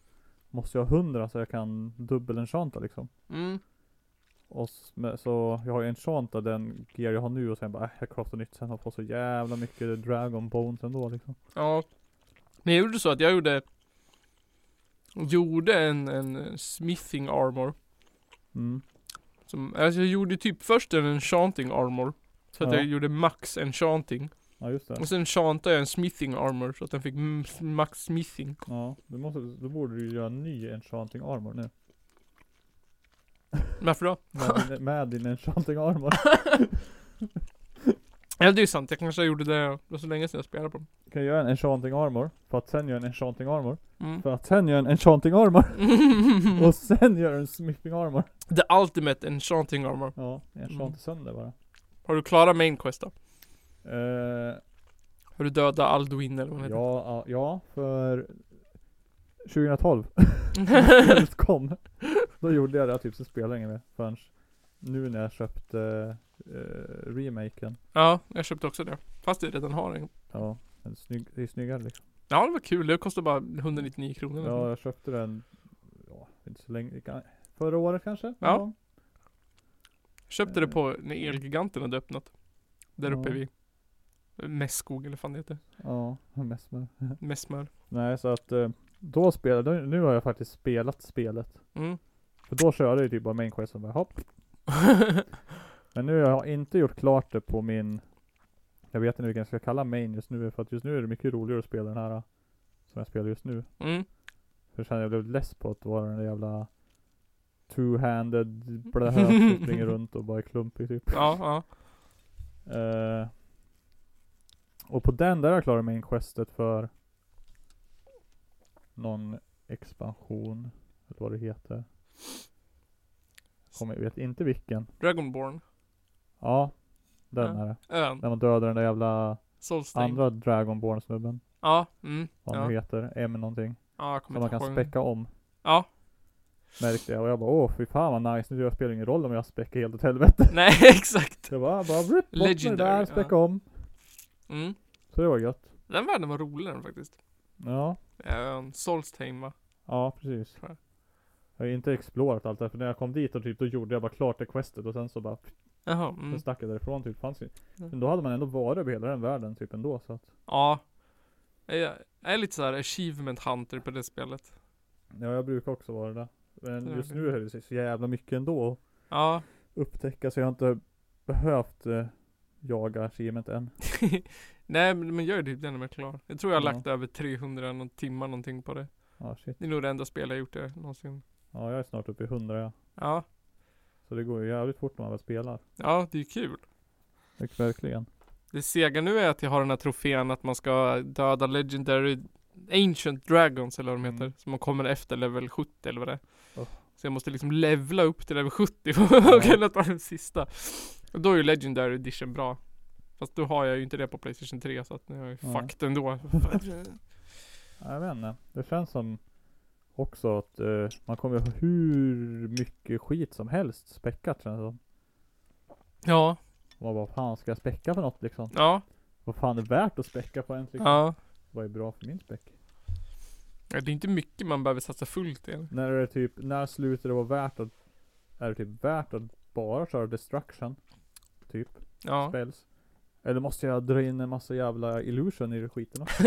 Måste ju ha 100 så jag kan dubbel enchanta liksom.
Mm.
Och s- men- så jag har ju enchanta den gear jag har nu och sen bara äh, jag craftar nytt sen har jag fått så jävla mycket dragon bones ändå liksom.
Ja. Men jag gjorde så att jag gjorde Gjorde en, en smithing armor.
Mm.
Som, alltså jag gjorde typ först en enchanting armor. Så att
Ja.
jag gjorde max enchanting.
Ja just det.
Och sen enchantade jag en smithing armor så att den fick m- max smithing.
Ja, du måste, då borde du ju göra en ny enchanting armor nu.
Varför då?
Med din, med din enchanting armor.
Ja det är sant, jag kanske gjorde det, det var så länge sedan jag spelade på den.
Kan jag göra en enchanting armor? För att sen göra en enchanting armor?
Mm.
För att sen göra en enchanting armor? Och sen göra en smithing armor?
The ultimate enchanting armor.
Ja, enchanta
Mm.
sönder bara.
Har du klarat main quest då?
Eh,
Har du dödat Alduin eller vad han heter?
ja, ja, ja, för 2012
Ja.
spelet kom. Då gjorde jag det typ, så spelade jag inget mer förrän nu när jag köpte eh, remaken.
ja, jag köpte också det. Fast jag redan har en.
Ja, den är snygg, det är snyggare liksom.
Ja det var kul, det kostar bara 199 kronor.
Ja, jag köpte den, ja, inte så länge, kan- förra året kanske? någon
Ja.
gång.
Köpte det på när Elgiganten hade öppnat. Där uppe
Eh. Ja.
vid Mässkog eller vad fan det heter.
Ja, mest med.
Mässmör.
Nej, så att eh, då spelade, nu, nu har jag faktiskt spelat spelet.
Mm.
För då körde jag ju typ bara main quest och bara hopp. Men nu har jag inte gjort klart det på min Jag vet inte vilken jag ska kalla main just nu för att just nu är det mycket roligare att spela den här eh, Som jag spelar just nu
mm.
För sen jag blev less på att vara den där jävla Two-handed blöt som springer runt och bara är klumpig typ
Ja, ja.
Eh, Och på den där har jag klarat main questet för Någon expansion Eller vad det heter Kommer, jag vet inte vilken
Dragonborn.
Ja Den
Ja.
är det
Ön.
När man dödar den där jävla
Solsting.
andra Dragonborn snubben.
Ja. Mm.
Vad
Ja.
han heter. M någonting.
ja, jag kommer
Som man
inte
kan
ihåg.
späcka om.
Ja.
Märkte jag. Och jag bara åh fy fan vad nice. Nu spelar det ingen roll om jag späcker helt åt helvete.
Nej, exakt.
Så jag bara, bara rupp, bort med det
Legendary,
där.
ja.
Späcka om.
Mm.
Så det var gött.
Den världen var roligare än faktiskt.
Ja.
Ön. Solstheim va?
Ja precis.
Tror jag.
Jag har ju inte explorat allt det här, för när jag kom dit och typ då gjorde jag bara klart det questet och sen så bara pff,
Jaha.
sen
Mm.
stack jag därifrån typ. Fanns ju.
Mm.
Men då hade man ändå varit över hela den världen typ ändå så att.
Ja. Jag är lite såhär achievement hunter på det spelet.
Ja jag brukar också vara det. Men
Ja,
just
det-
nu är det så jävla mycket ändå.
Ja.
upptäcka så jag har inte behövt eh, jaga achievement än.
Nej men men gör typ det när man är klar. Jag tror jag har
Ja.
lagt över 300 någon timmar någonting på det.
Ja shit.
Det är nog det enda spel jag gjort det någonsin.
Ja jag är snart uppe i 100 ja.
Ja.
Så det går ju jävligt fort när man väl spelar.
Ja, det är kul.
Verk- Verkligen.
Det sega nu är att jag har den här trofén att man ska döda Legendary Ancient Dragons eller vad de heter.
Mm.
Så man kommer efter level 70 eller vad det är.
Oh.
Så jag måste liksom levla upp till level 70 för att kunna ta den sista. Och då är ju Legendary Edition bra. Fast då har jag ju inte det på Playstation 3 så att nu är jag ju
Nej.
fucked ändå.
Ja, Jag vet inte. Det känns som också att eh, man kommer ju ha hur mycket skit som helst späckat känns det som.
ja,
Och man bara fan ska jag späcka för något liksom?
ja,
Vad fan är värt att späcka på ens liksom?
ja.
Vad är bra för min späck?
Ja, Det är inte mycket man behöver satsa fullt i.
När är det typ, när slutar det vara värt att, är det typ värt att bara köra destruction? Typ.
Ja.
spells. Eller måste jag dra in en massa jävla illusion i skiten också?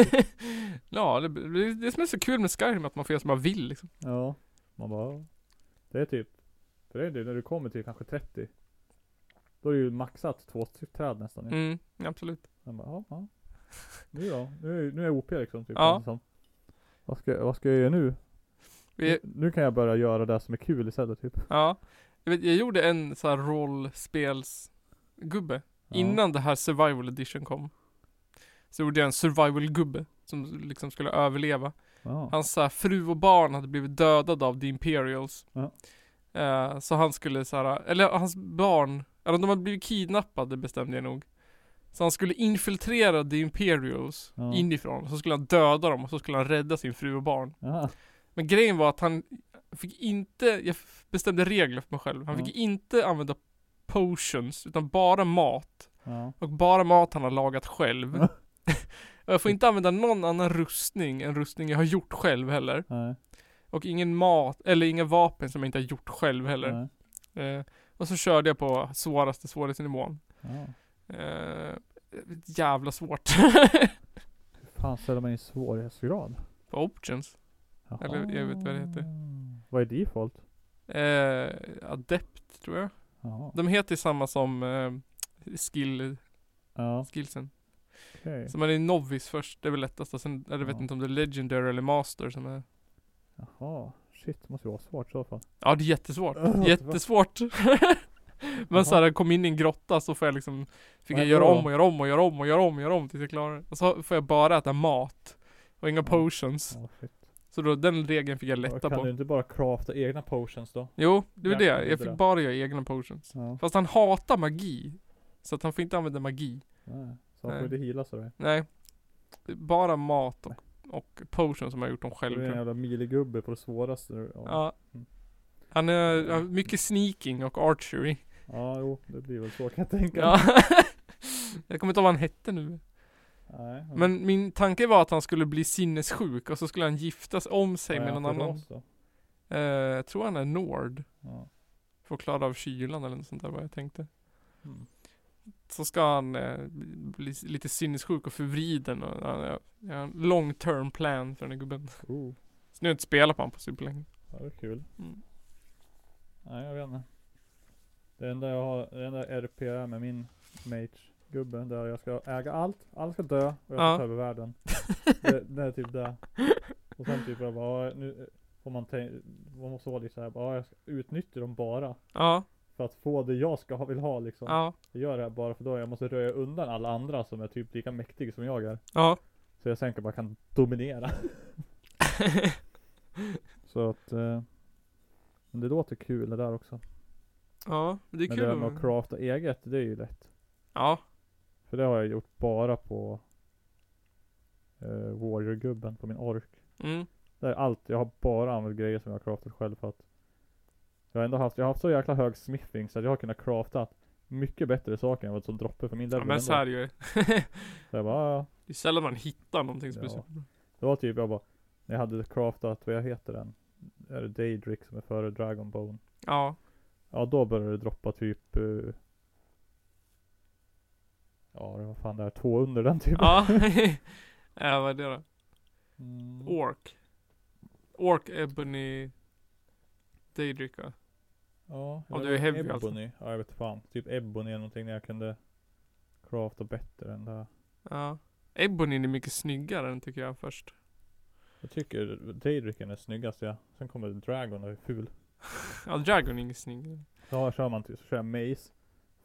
ja, det, det, det som är så kul med Skyrim är att man får göra som man vill liksom.
ja, man bara. Det är typ. För det är det när du kommer till kanske 30. Då är det ju maxat två styck träd nästan. Mm.
Mm, absolut.
Man bara, ja, ja. Nu då? Nu är, nu är jag OP liksom. Typ,
Ja.
känns det som. Vad, ska, vad ska jag göra nu?
Vi,
nu? Nu kan jag börja göra det som är kul istället typ.
Ja. Jag, vet, jag gjorde en så här rollspelsgubbe.
Ja.
Innan det här survival edition kom. Så gjorde jag en survival-gubbe. Som liksom skulle överleva.
Ja.
Hans så här, fru och barn hade blivit dödade av the Imperials.
Ja.
Eh, så han skulle så här, eller hans barn, eller de hade blivit kidnappade bestämde jag nog. Så han skulle infiltrera the Imperials
Ja.
inifrån. Så skulle han döda dem och så skulle han rädda sin fru och barn.
Ja.
Men grejen var att han fick inte, jag f- bestämde regler för mig själv. Han fick inte använda potions, utan bara mat.
Ja.
Och bara mat han har lagat själv.
Ja.
och jag får inte använda någon annan rustning än rustning jag har gjort själv heller.
Nej.
Och ingen mat, eller inga vapen som jag inte har gjort själv heller.
Nej.
Eh, Och så körde jag på svåraste svårighetsnivån.
Ja.
Eh, jävla svårt.
Hur fan ställer man in svårighetsgrad?
på options.
Jaha.
Eller, jag vet vad det heter.
Vad är default?
Eh, adept tror jag.
Jaha.
De heter ju samma som eh, skill,
Ja,
skillsen.
okej.
Så man är novice först, det är väl lättast. Och sen, eller jag vet
Ja.
inte om det är legendary eller master som är.
Jaha. Shit, det måste ju vara svårt i så fall.
Ja det är jättesvårt.
Vad-
Jättesvårt.
Jaha.
Men såhär, kom in i en grotta så får jag liksom Fick
Vad
jag
är det
göra
då?
om och göra om och göra om och göra om och göra om tills jag klarar det. Och så får jag bara äta mat. Och inga
Ja.
potions.
Ja, shit.
Så då den regeln fick jag lätta
kan du
på.
inte bara crafta egna potions då?
Jo, det var
Jag
det.
kunde
Jag
inte
fick
det.
bara göra egna potions.
Ja.
Fast han hatar magi. Så att han får inte använda magi.
Nej. Så han
Nej.
får inte heala sådär.
Nej. Det är Bara mat och, och potions som jag har gjort dem själv
Du är Mm. en
tror jag.
jävla miligubbe på det svåraste. Ja.
Ja. Han är, har mycket sneaking och archery.
Ja, jo, det blir väl så kan jag tänka.
Ja. Mm. jag kommer inte ihåg vad han hette nu.
Nej,
Men min tanke var att han skulle bli sinnessjuk och så skulle han giftas om sig
vad är
med
han
någon
för
annan.
ras då?
Eh, jag tror han är nord.
Ja.
För att klara av kylan eller något sånt där vad jag tänkte.
Mm.
Så ska han eh, bli lite sinnessjuk och förvriden och han har- jag har en long term plan för den här gubben.
Oh,
Så nu har jag inte spelat på honom på superlänge.
ja, det var kul.
Mm.
Nej, jag vet inte. Det enda jag har, det enda RP är med min mage-gubbe, där jag ska äga allt, alla ska dö och jag ska
Ja.
ta över världen. det, det är typ det. Och sen typ jag bara, ja, nu får man tänka, man måste vara lite såhär, bara, ja, jag ska utnyttja dem bara.
Ja,
För att få det jag ska, ha- vill ha liksom.
ja,
Jag gör det här bara för då jag måste röja undan alla andra som är typ lika mäktiga som jag är.
ja.
Så jag sen kan bara kan dominera. så att eh, Men det låter kul det där också.
Ja, men det är
men
kul.
det där med att
att-
crafta eget, det är ju lätt.
Ja,
För det har jag gjort bara på eh, Warrior-gubben på min ork.
mm.
Det är allt, jag har bara använt grejer som jag har craftat själv för att Jag har ändå haft, jag har haft så jäkla hög smithing så att jag har kunnat crafta mycket bättre saker än vad som droppar för min
ja
level.
men
ändå.
så här är det ju.
så jag bara, "Ah, ja,
Det är sällan man hittar någonting som är
Ja.
superbra.
Det var typ jag bara, när jag hade craftat, vad jag heter den? Är det Daedric som är före Dragonbone?
Ja,
Ja då började det droppa typ eh, Ja det var fan där, två under den typ.
ja. äh, vad är det då?
Mm.
Ork. Ork, Ebony, Daedric va?
Ja,
Om
eller
du är heavy
Ebony.
alltså.
Ja jag vet fan. Typ Ebony eller någonting när jag kunde crafta bättre än det här.
Ja. Ebony är mycket snyggare än tycker jag först.
Jag tycker Daedricen är snyggast ja. Sen kommer Dragon och är ful.
Ja, Dragon är ingen snygg.
Ja kör man till, så kör jag Maze.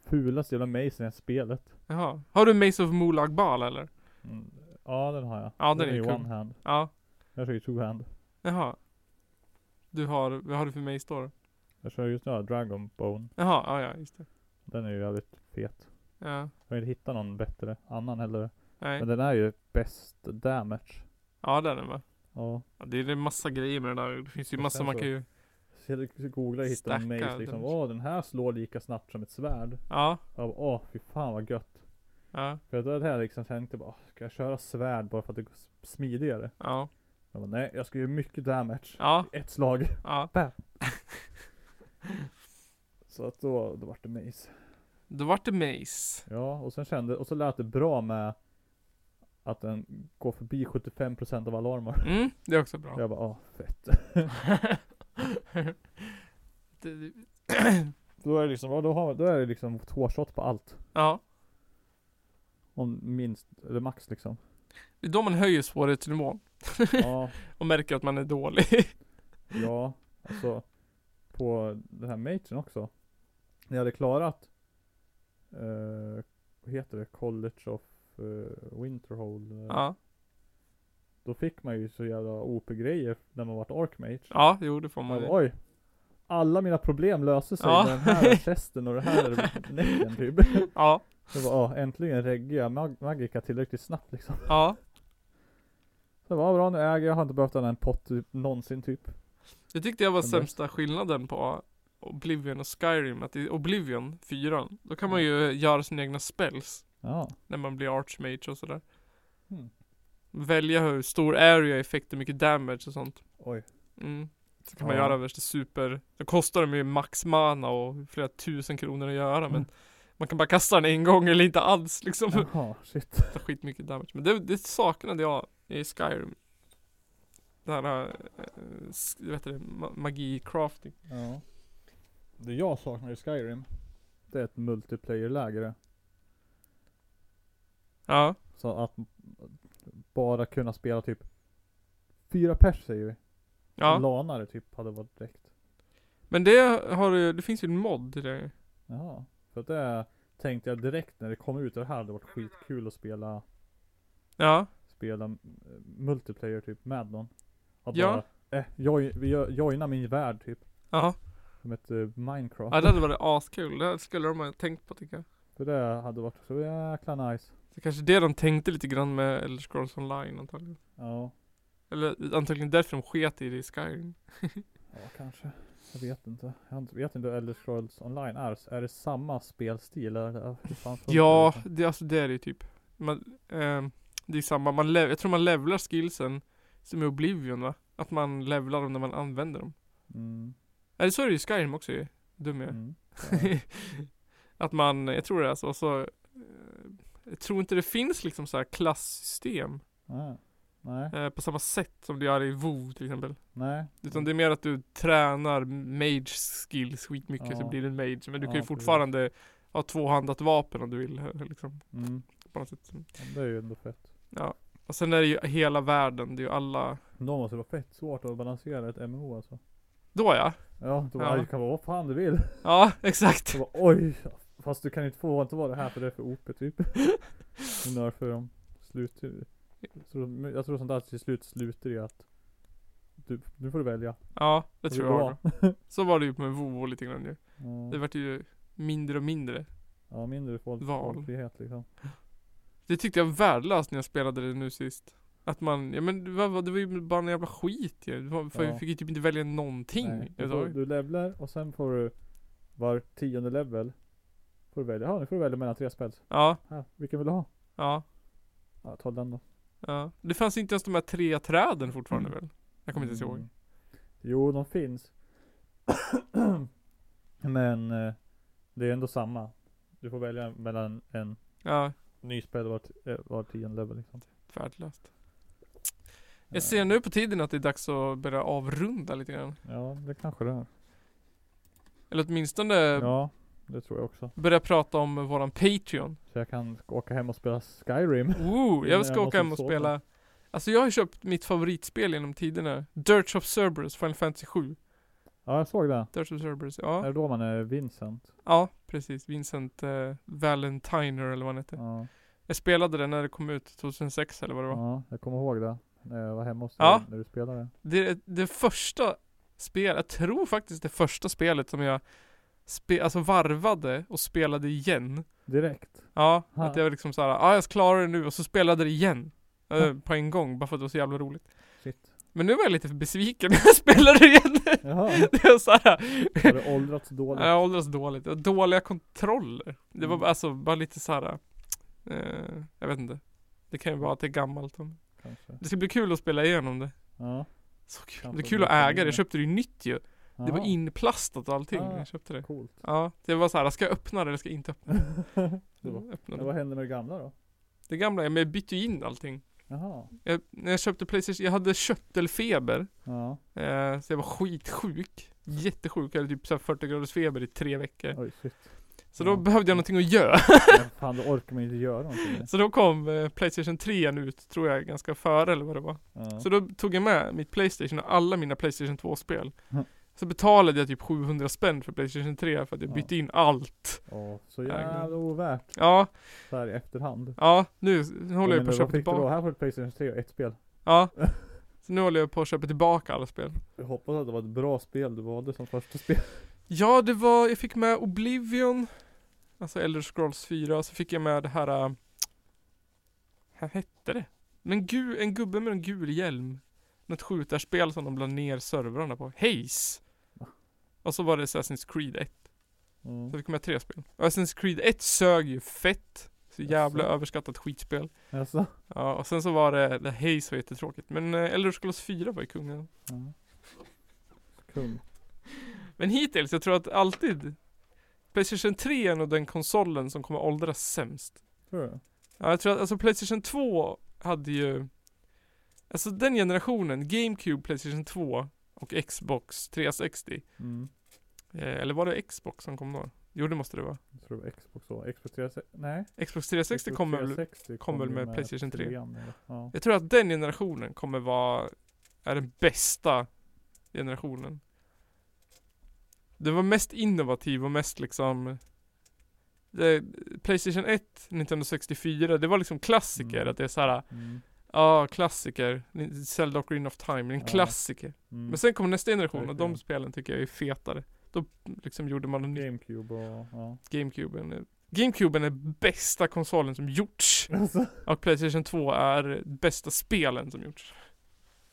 Fulaste jävla Maze i det här spelet.
Jaha. Har du Mace of Molagbal eller?
Mm. Ja den har jag.
Ja, den är
ju
kul.
one hand.
Ja.
Jag kör ju two hand.
Jaha. Du har, vad har du för Mace då? då?
Jag kör just nu här, Dragonbone.
Jaha, ja ja, just det.
Den är ju jävligt fet.
Ja.
Jag har inte hittat någon bättre annan heller.
Nej.
Men den är ju bäst damage.
Ja, där är den va?
Ja.
Ja, det är det är massa grejer med det där. Det finns ju
Och
massa
sen
man
så-
kan ju...
Så jag googlade och hittade en
Stackar
maze liksom.
damage.
Åh den här slår lika snabbt som ett svärd.
Ja.
Jag bara, åh fy fan vad gött.
Ja.
För då hade jag liksom tänkte bara, "Åh, ska jag köra svärd bara för att det går s- smidigare?
Ja.
Jag bara, nej jag ska göra mycket damage.
Ja.
i Ett slag.
Ja.
Så att då, då vart det maze.
Då vart det Mace.
Ja och sen kände, och så lät det bra med att den går förbi 75% av alla armor.
Mm, det är också bra.
Jag bara, åh fett.
Det- det-
Då är det liksom, ja, då, har, då är det liksom två shot på allt.
ja.
Om minst, eller max liksom.
Det är då man höjer svårighetsnivån.
Ja,
Och märker att man är dålig.
ja, alltså. På den här matchen också. När jag hade klarat, eh, vad heter det, College of eh, Winterhold. eh,
ja.
Då fick man ju så jävla OP-grejer när man vart Archmage.
Ja, jo det får man
Man
ju.
bara, Oj! Alla mina problem löser sig
Ja.
med den här chesten och den här näcken typ.
Ja.
Jag bara, ah, äntligen reggar jag mag- Magica tillräckligt snabbt liksom.
Ja.
Det var bra, nu äger jag, har inte behövt använda en pott typ, någonsin typ.
Jag tyckte jag var
Den
sämsta skillnaden på Oblivion och Skyrim, att i Oblivion 4, då kan man ju göra sina egna spells
Ja.
när man blir Archmage och sådär.
Mm.
Välja hur stor area effekt och mycket damage och sånt.
Oj.
Mm. Så kan man
Ja.
göra värsta super, det kostar dem ju max mana och flera tusen kronor att göra men
Mm.
Man kan bara kasta den en gång eller inte alls liksom.
Jaha, shit.
tar skitmycket damage. Men det, det saknade jag i Skyrim. Det här, eh, s- vad heter det, ma- magi-crafting.
Ja. Det jag saknar i Skyrim, det är ett multiplayer-läge det.
Ja.
Så att bara kunna spela typ fyra pers säger vi.
Ja.
Lanare typ hade varit direkt.
Men det har du, det finns ju en mod till det.
Jaha. För att det tänkte jag direkt när det kom ut det här hade varit skitkul att spela,
Ja.
spela eh, multiplayer typ med någon. Att
Ja.
bara, eh, joj, vi jo- joina min värld typ.
Ja.
Som ett eh, Minecraft.
ja, det hade varit askul. Det skulle de ha tänkt på tycker jag.
För det hade varit så jäkla nice.
Det är kanske det de tänkte lite grann med Elder Scrolls Online antagligen.
Ja.
Eller antagligen därför de sket i det i Skyrim.
Ja kanske. Jag vet inte. Jag har inte- vet inte hur Elder Scrolls Online är. Är det samma spelstil? Eller, hur fan funkar
Ja,
det?
det, alltså det är det ju typ. Man, ehm, det är samma, man lev, jag tror man levlar skillsen som i Oblivion va? Att man levlar dem när man använder dem.
Mm.
Eller så är det ju Skyrim också ju. Dum jag är.
Mm. Ja.
Att man, jag tror det är så, så eh, jag tror inte det finns liksom så här klasssystem
Nej. Nej.
eh, på samma sätt som det gör i WoW till exempel.
Nej.
Utan det är mer att du tränar mage skills skitmycket så
Ja.
blir du en mage.
Ja,
Men du kan ju
precis.
fortfarande ha tvåhandat vapen om du vill eh, liksom
Mm.
på något sätt.
Ja, Det är ju ändå fett.
Och sen är det ju hela världen, det är ju alla
Då måste det vara fett svårt att balansera ett MMO alltså.
Då ja.
Ja, då
Ja.
ja. kan vara vad fan du vill.
Ja, exakt.
Så bara, oj. Fast du kan inte få inte vara det här för det är för OP typ. Men därför de slutar jag tror, jag tror sånt där till slut slutar i att du, nu får du välja.
Ja, det
Vad
tror
vill du
jag. Så var det ju med WoW lite grann ju.
Ja.
Det vart ju mindre och mindre.
Ja, mindre folk,
Val.
valfrihet liksom.
Det tyckte jag var värdelöst när jag spelade det nu sist. Att man, ja men det var, det var ju bara en jävla skit ju. Det var, för
Ja.
Jag fick ju typ inte välja någonting.
Nej, du,
Jag
får,
sa,
du levlar och sen får du var tionde level. Får du välja. Ja, nu får du välja mellan tre spels.
ja,
Ja, vilken vill du ha?
ja,
Ja, ta den då.
ja. Det fanns inte ens de här tre träden fortfarande väl? Jag kommer inte ens ihåg.
Mm. Jo, de finns. Men eh, det är ändå samma. Du får välja mellan en
Ja,
ny spel var, t- eh, var tionde level liksom. Eh,
värdelöst. Jag ser nu på tiden att det är dags att börja avrunda lite grann.
Ja, det kanske
Ehm.
det är.
Eller åtminstone
Ja, det tror jag också.
börja prata om våran Patreon.
Så jag kan åka hem och spela Skyrim.
Ooh,
Innan
jag ska
jag
åka hem och
måste
spela Alltså jag har ju köpt mitt favoritspel genom tiderna Dirge of Cerberus, Final Fantasy 7
Ja, jag såg det.
Dirge of Cerberus,
Är
ja
det då man är Vincent?
Ja, precis, Vincent eh, Valentiner eller vad han hette
Ja,
Jag spelade det när det kom ut 2006 eller vad det var
ja jag kommer ihåg det. När jag var hemma hos dig
Ja.
när du spelade.
Det, det första spelet, jag tror faktiskt det första spelet som jag spe, Alltså varvade och spelade igen
Direkt.
Ja,
Ha.
att jag var liksom såhär, ja ah, jag klarar det nu och så spelade det igen eh, På en gång, bara för att det var så jävla roligt
Shit.
Men nu var jag lite besviken när jag spelade igen
Jaha.
Det är såhär,
Har du åldrats dåligt?
jag åldras dåligt. Jag har dåliga kontroller. Det var
Mm.
alltså bara lite såhär, eh, jag vet inte. Det kan ju vara att det är gammalt. om-
Kanske.
Det ska bli kul att spela igenom det.
Ja.
Så kul.
Kanske
Det är kul
det
att
blir
äga det. Jag
det.
köpte det ju nytt ju. Det var
Jaha.
inplastat och allting.
Ah.
Jag köpte det.
Coolt.
Ja, det var såhär, ska jag öppna det eller ska jag inte öppna
Det
det?
var-
Öppna
Men
det.
vad hände med det gamla då?
det gamla, men jag bytte ju in allting.
Jaha.
Jag, när jag köpte Playstation, jag hade köttelfeber.
Ja.
Eh, så jag var skitsjuk. Jättesjuk. Jag hade typ såhär 40 graders feber i tre veckor.
Oj shit.
Så då
Ja.
behövde jag någonting att göra.
Men fan då orkar man ju inte göra någonting. med.
Så då kom eh, Playstation 3 ut, tror jag, ganska före eller vad det var.
Ja.
Så då tog jag med mitt Playstation och alla mina Playstation 2-spel.
Mm.
Så betalade jag typ 700 spänn för Playstation 3 för att jag
Ja.
bytte in allt.
Åh, så jävla ovärt
Ja,
så här i efterhand.
ja, nu, nu håller jag på
men
att
vad
köpa
fick du då?
tillbaka.
Här får du Playstation 3 och ett spel.
Ja. Så nu håller jag på att köpa tillbaka alla spel.
Jag hoppas att det var ett bra spel du valde som första spel.
Ja, det var, jag fick med Oblivion, alltså Elder Scrolls 4, så fick jag med det här, äh, vad hette det? Men gu, en gubbe med en gul hjälm. Något skjutarspel som de la ner servrarna på. Haze! Och så var det Assassin's Creed 1.
Mm.
Så fick jag med tre spel. Och Assassin's Creed 1 sög ju fett. Så jävla
Jaså?
överskattat skitspel.
Jaså?
Ja, och sen så äh, var det, det Haze var jättetråkigt. Men eh, Elder Scrolls 4 var ju kungen.
Mm. Kung.
Men hittills, jag tror att alltid Playstation 3 är nog den konsolen som kommer åldras sämst.
Tror du?
Ja, jag tror att alltså Playstation 2 hade ju Alltså den generationen, GameCube, Playstation 2 och Xbox 360
Mm.
eh, Eller var det Xbox som kom då? Jo det måste det vara.
Jag tror det var Xbox då. Xbox 360? Nej.
Xbox 360
Xbox
kommer väl
360
kom väl
ju
med PlayStation 3.
trean eller- Ja.
Jag tror att den generationen kommer vara, är den bästa generationen. Den var mest innovativ och mest liksom det, Playstation 1, Nintendo 64, det var liksom klassiker.
Mm.
Att det är såhär,
Mm.
ja klassiker. Ni- Zelda och Green of Time, en
Ja.
klassiker.
Mm.
Men sen kom nästa generation och de
Verkligen.
spelen tycker jag är fetare. Då liksom gjorde man en ny
GameCube och ja.
GameCuben. GameCuben är bästa konsolen som gjorts.
Alltså.
Och Playstation 2 är bästa spelen som gjorts.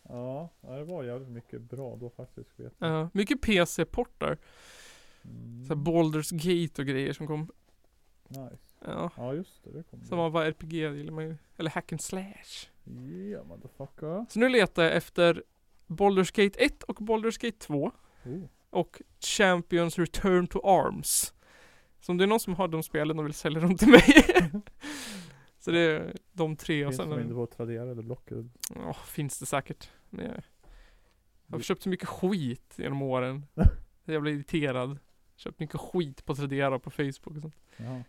Ja, ja, det var jävligt mycket bra då faktiskt. Vet jag.
Ja, mycket PC-portar.
Mm.
Såhär Baldur's Gate och grejer som kom.
Nice.
Ja.
Ja just det, det kommer
Som var bara RPG gillar man ju. Eller Hack and Slash.
Yeah motherfucker. Oh,
Så nu letar jag efter Baldur's Gate 1 och Baldur's Gate 2.
Oh.
Och Champions Return to Arms. Så om det är någon som har de spelen och vill sälja dem till mig. Så det är de tre och
Finns
sen...
de inte
en-
på Tradera eller Blocket?
Ja, finns det säkert. Men jag, jag har
Vi-
köpt så mycket skit genom åren. Jag blir irriterad. Köpt mycket skit på Tradera och på Facebook och sånt.
Jaha.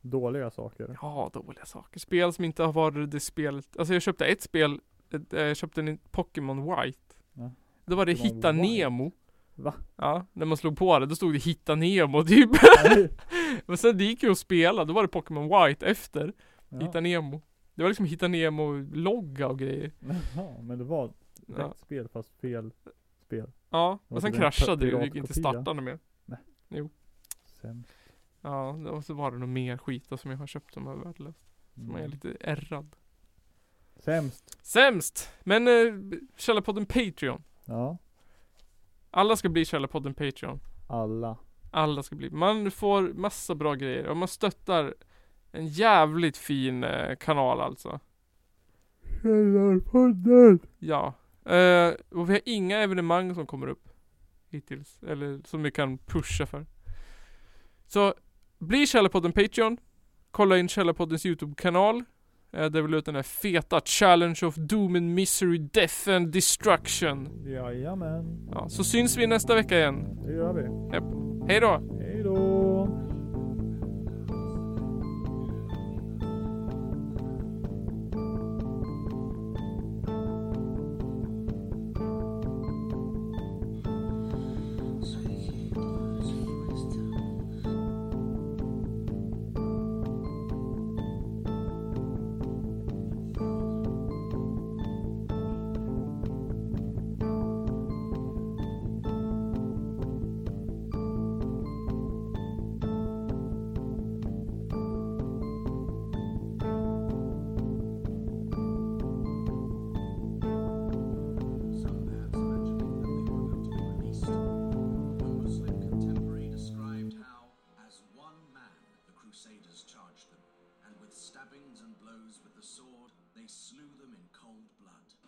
Dåliga saker.
Ja, dåliga saker. Spel som inte har varit det spelet. Alltså jag köpte ett spel, ett, eh, jag köpte en Pokémon White.
Ja.
Då var det
Pokémon
Hitta
White?
Nemo.
Va?
Ja, när man slog på det, då stod det Hitta Nemo typ.
Nej.
Men sen det gick ju att spela, då var det Pokémon White efter Hitta
Ja.
Nemo. Det var liksom Hitta Nemo-logga och grejer.
Jaha, men det var rätt
Ja,
spel fast fel spel.
ja. och
Och
sen
det blev en
kraschade det och gick
piratkopia.
inte starta något mer.
Sen.
Ja, och så var det nog mer skit då som jag har köpt som är värdelöst. Så man är
Mm.
lite ärrad.
Sämst.
Sämst! Men eh, Källarpodden Patreon.
Ja.
Alla ska bli Källarpodden Patreon.
Alla.
Alla ska bli. Man får massa bra grejer och man stöttar en jävligt fin eh, kanal alltså.
Källarpodden!
Ja. Eh, och vi har inga evenemang som kommer upp hittills. Eller som vi kan pusha för. Så bli Källarpodden Patreon. Kolla in Källarpoddens YouTube-kanal. Eh, där vi la ut den här feta Challenge of Doom and Misery, Death and Destruction.
Jajamän.
Ja, så syns vi nästa vecka igen.
Det gör vi.
Japp. Hej då!
Hej då!
Some maps mentioning that they were going to be released. One Muslim contemporary described how, as one man, the Crusaders charged them, and with stabbings and blows with the sword, they slew them in cold blood.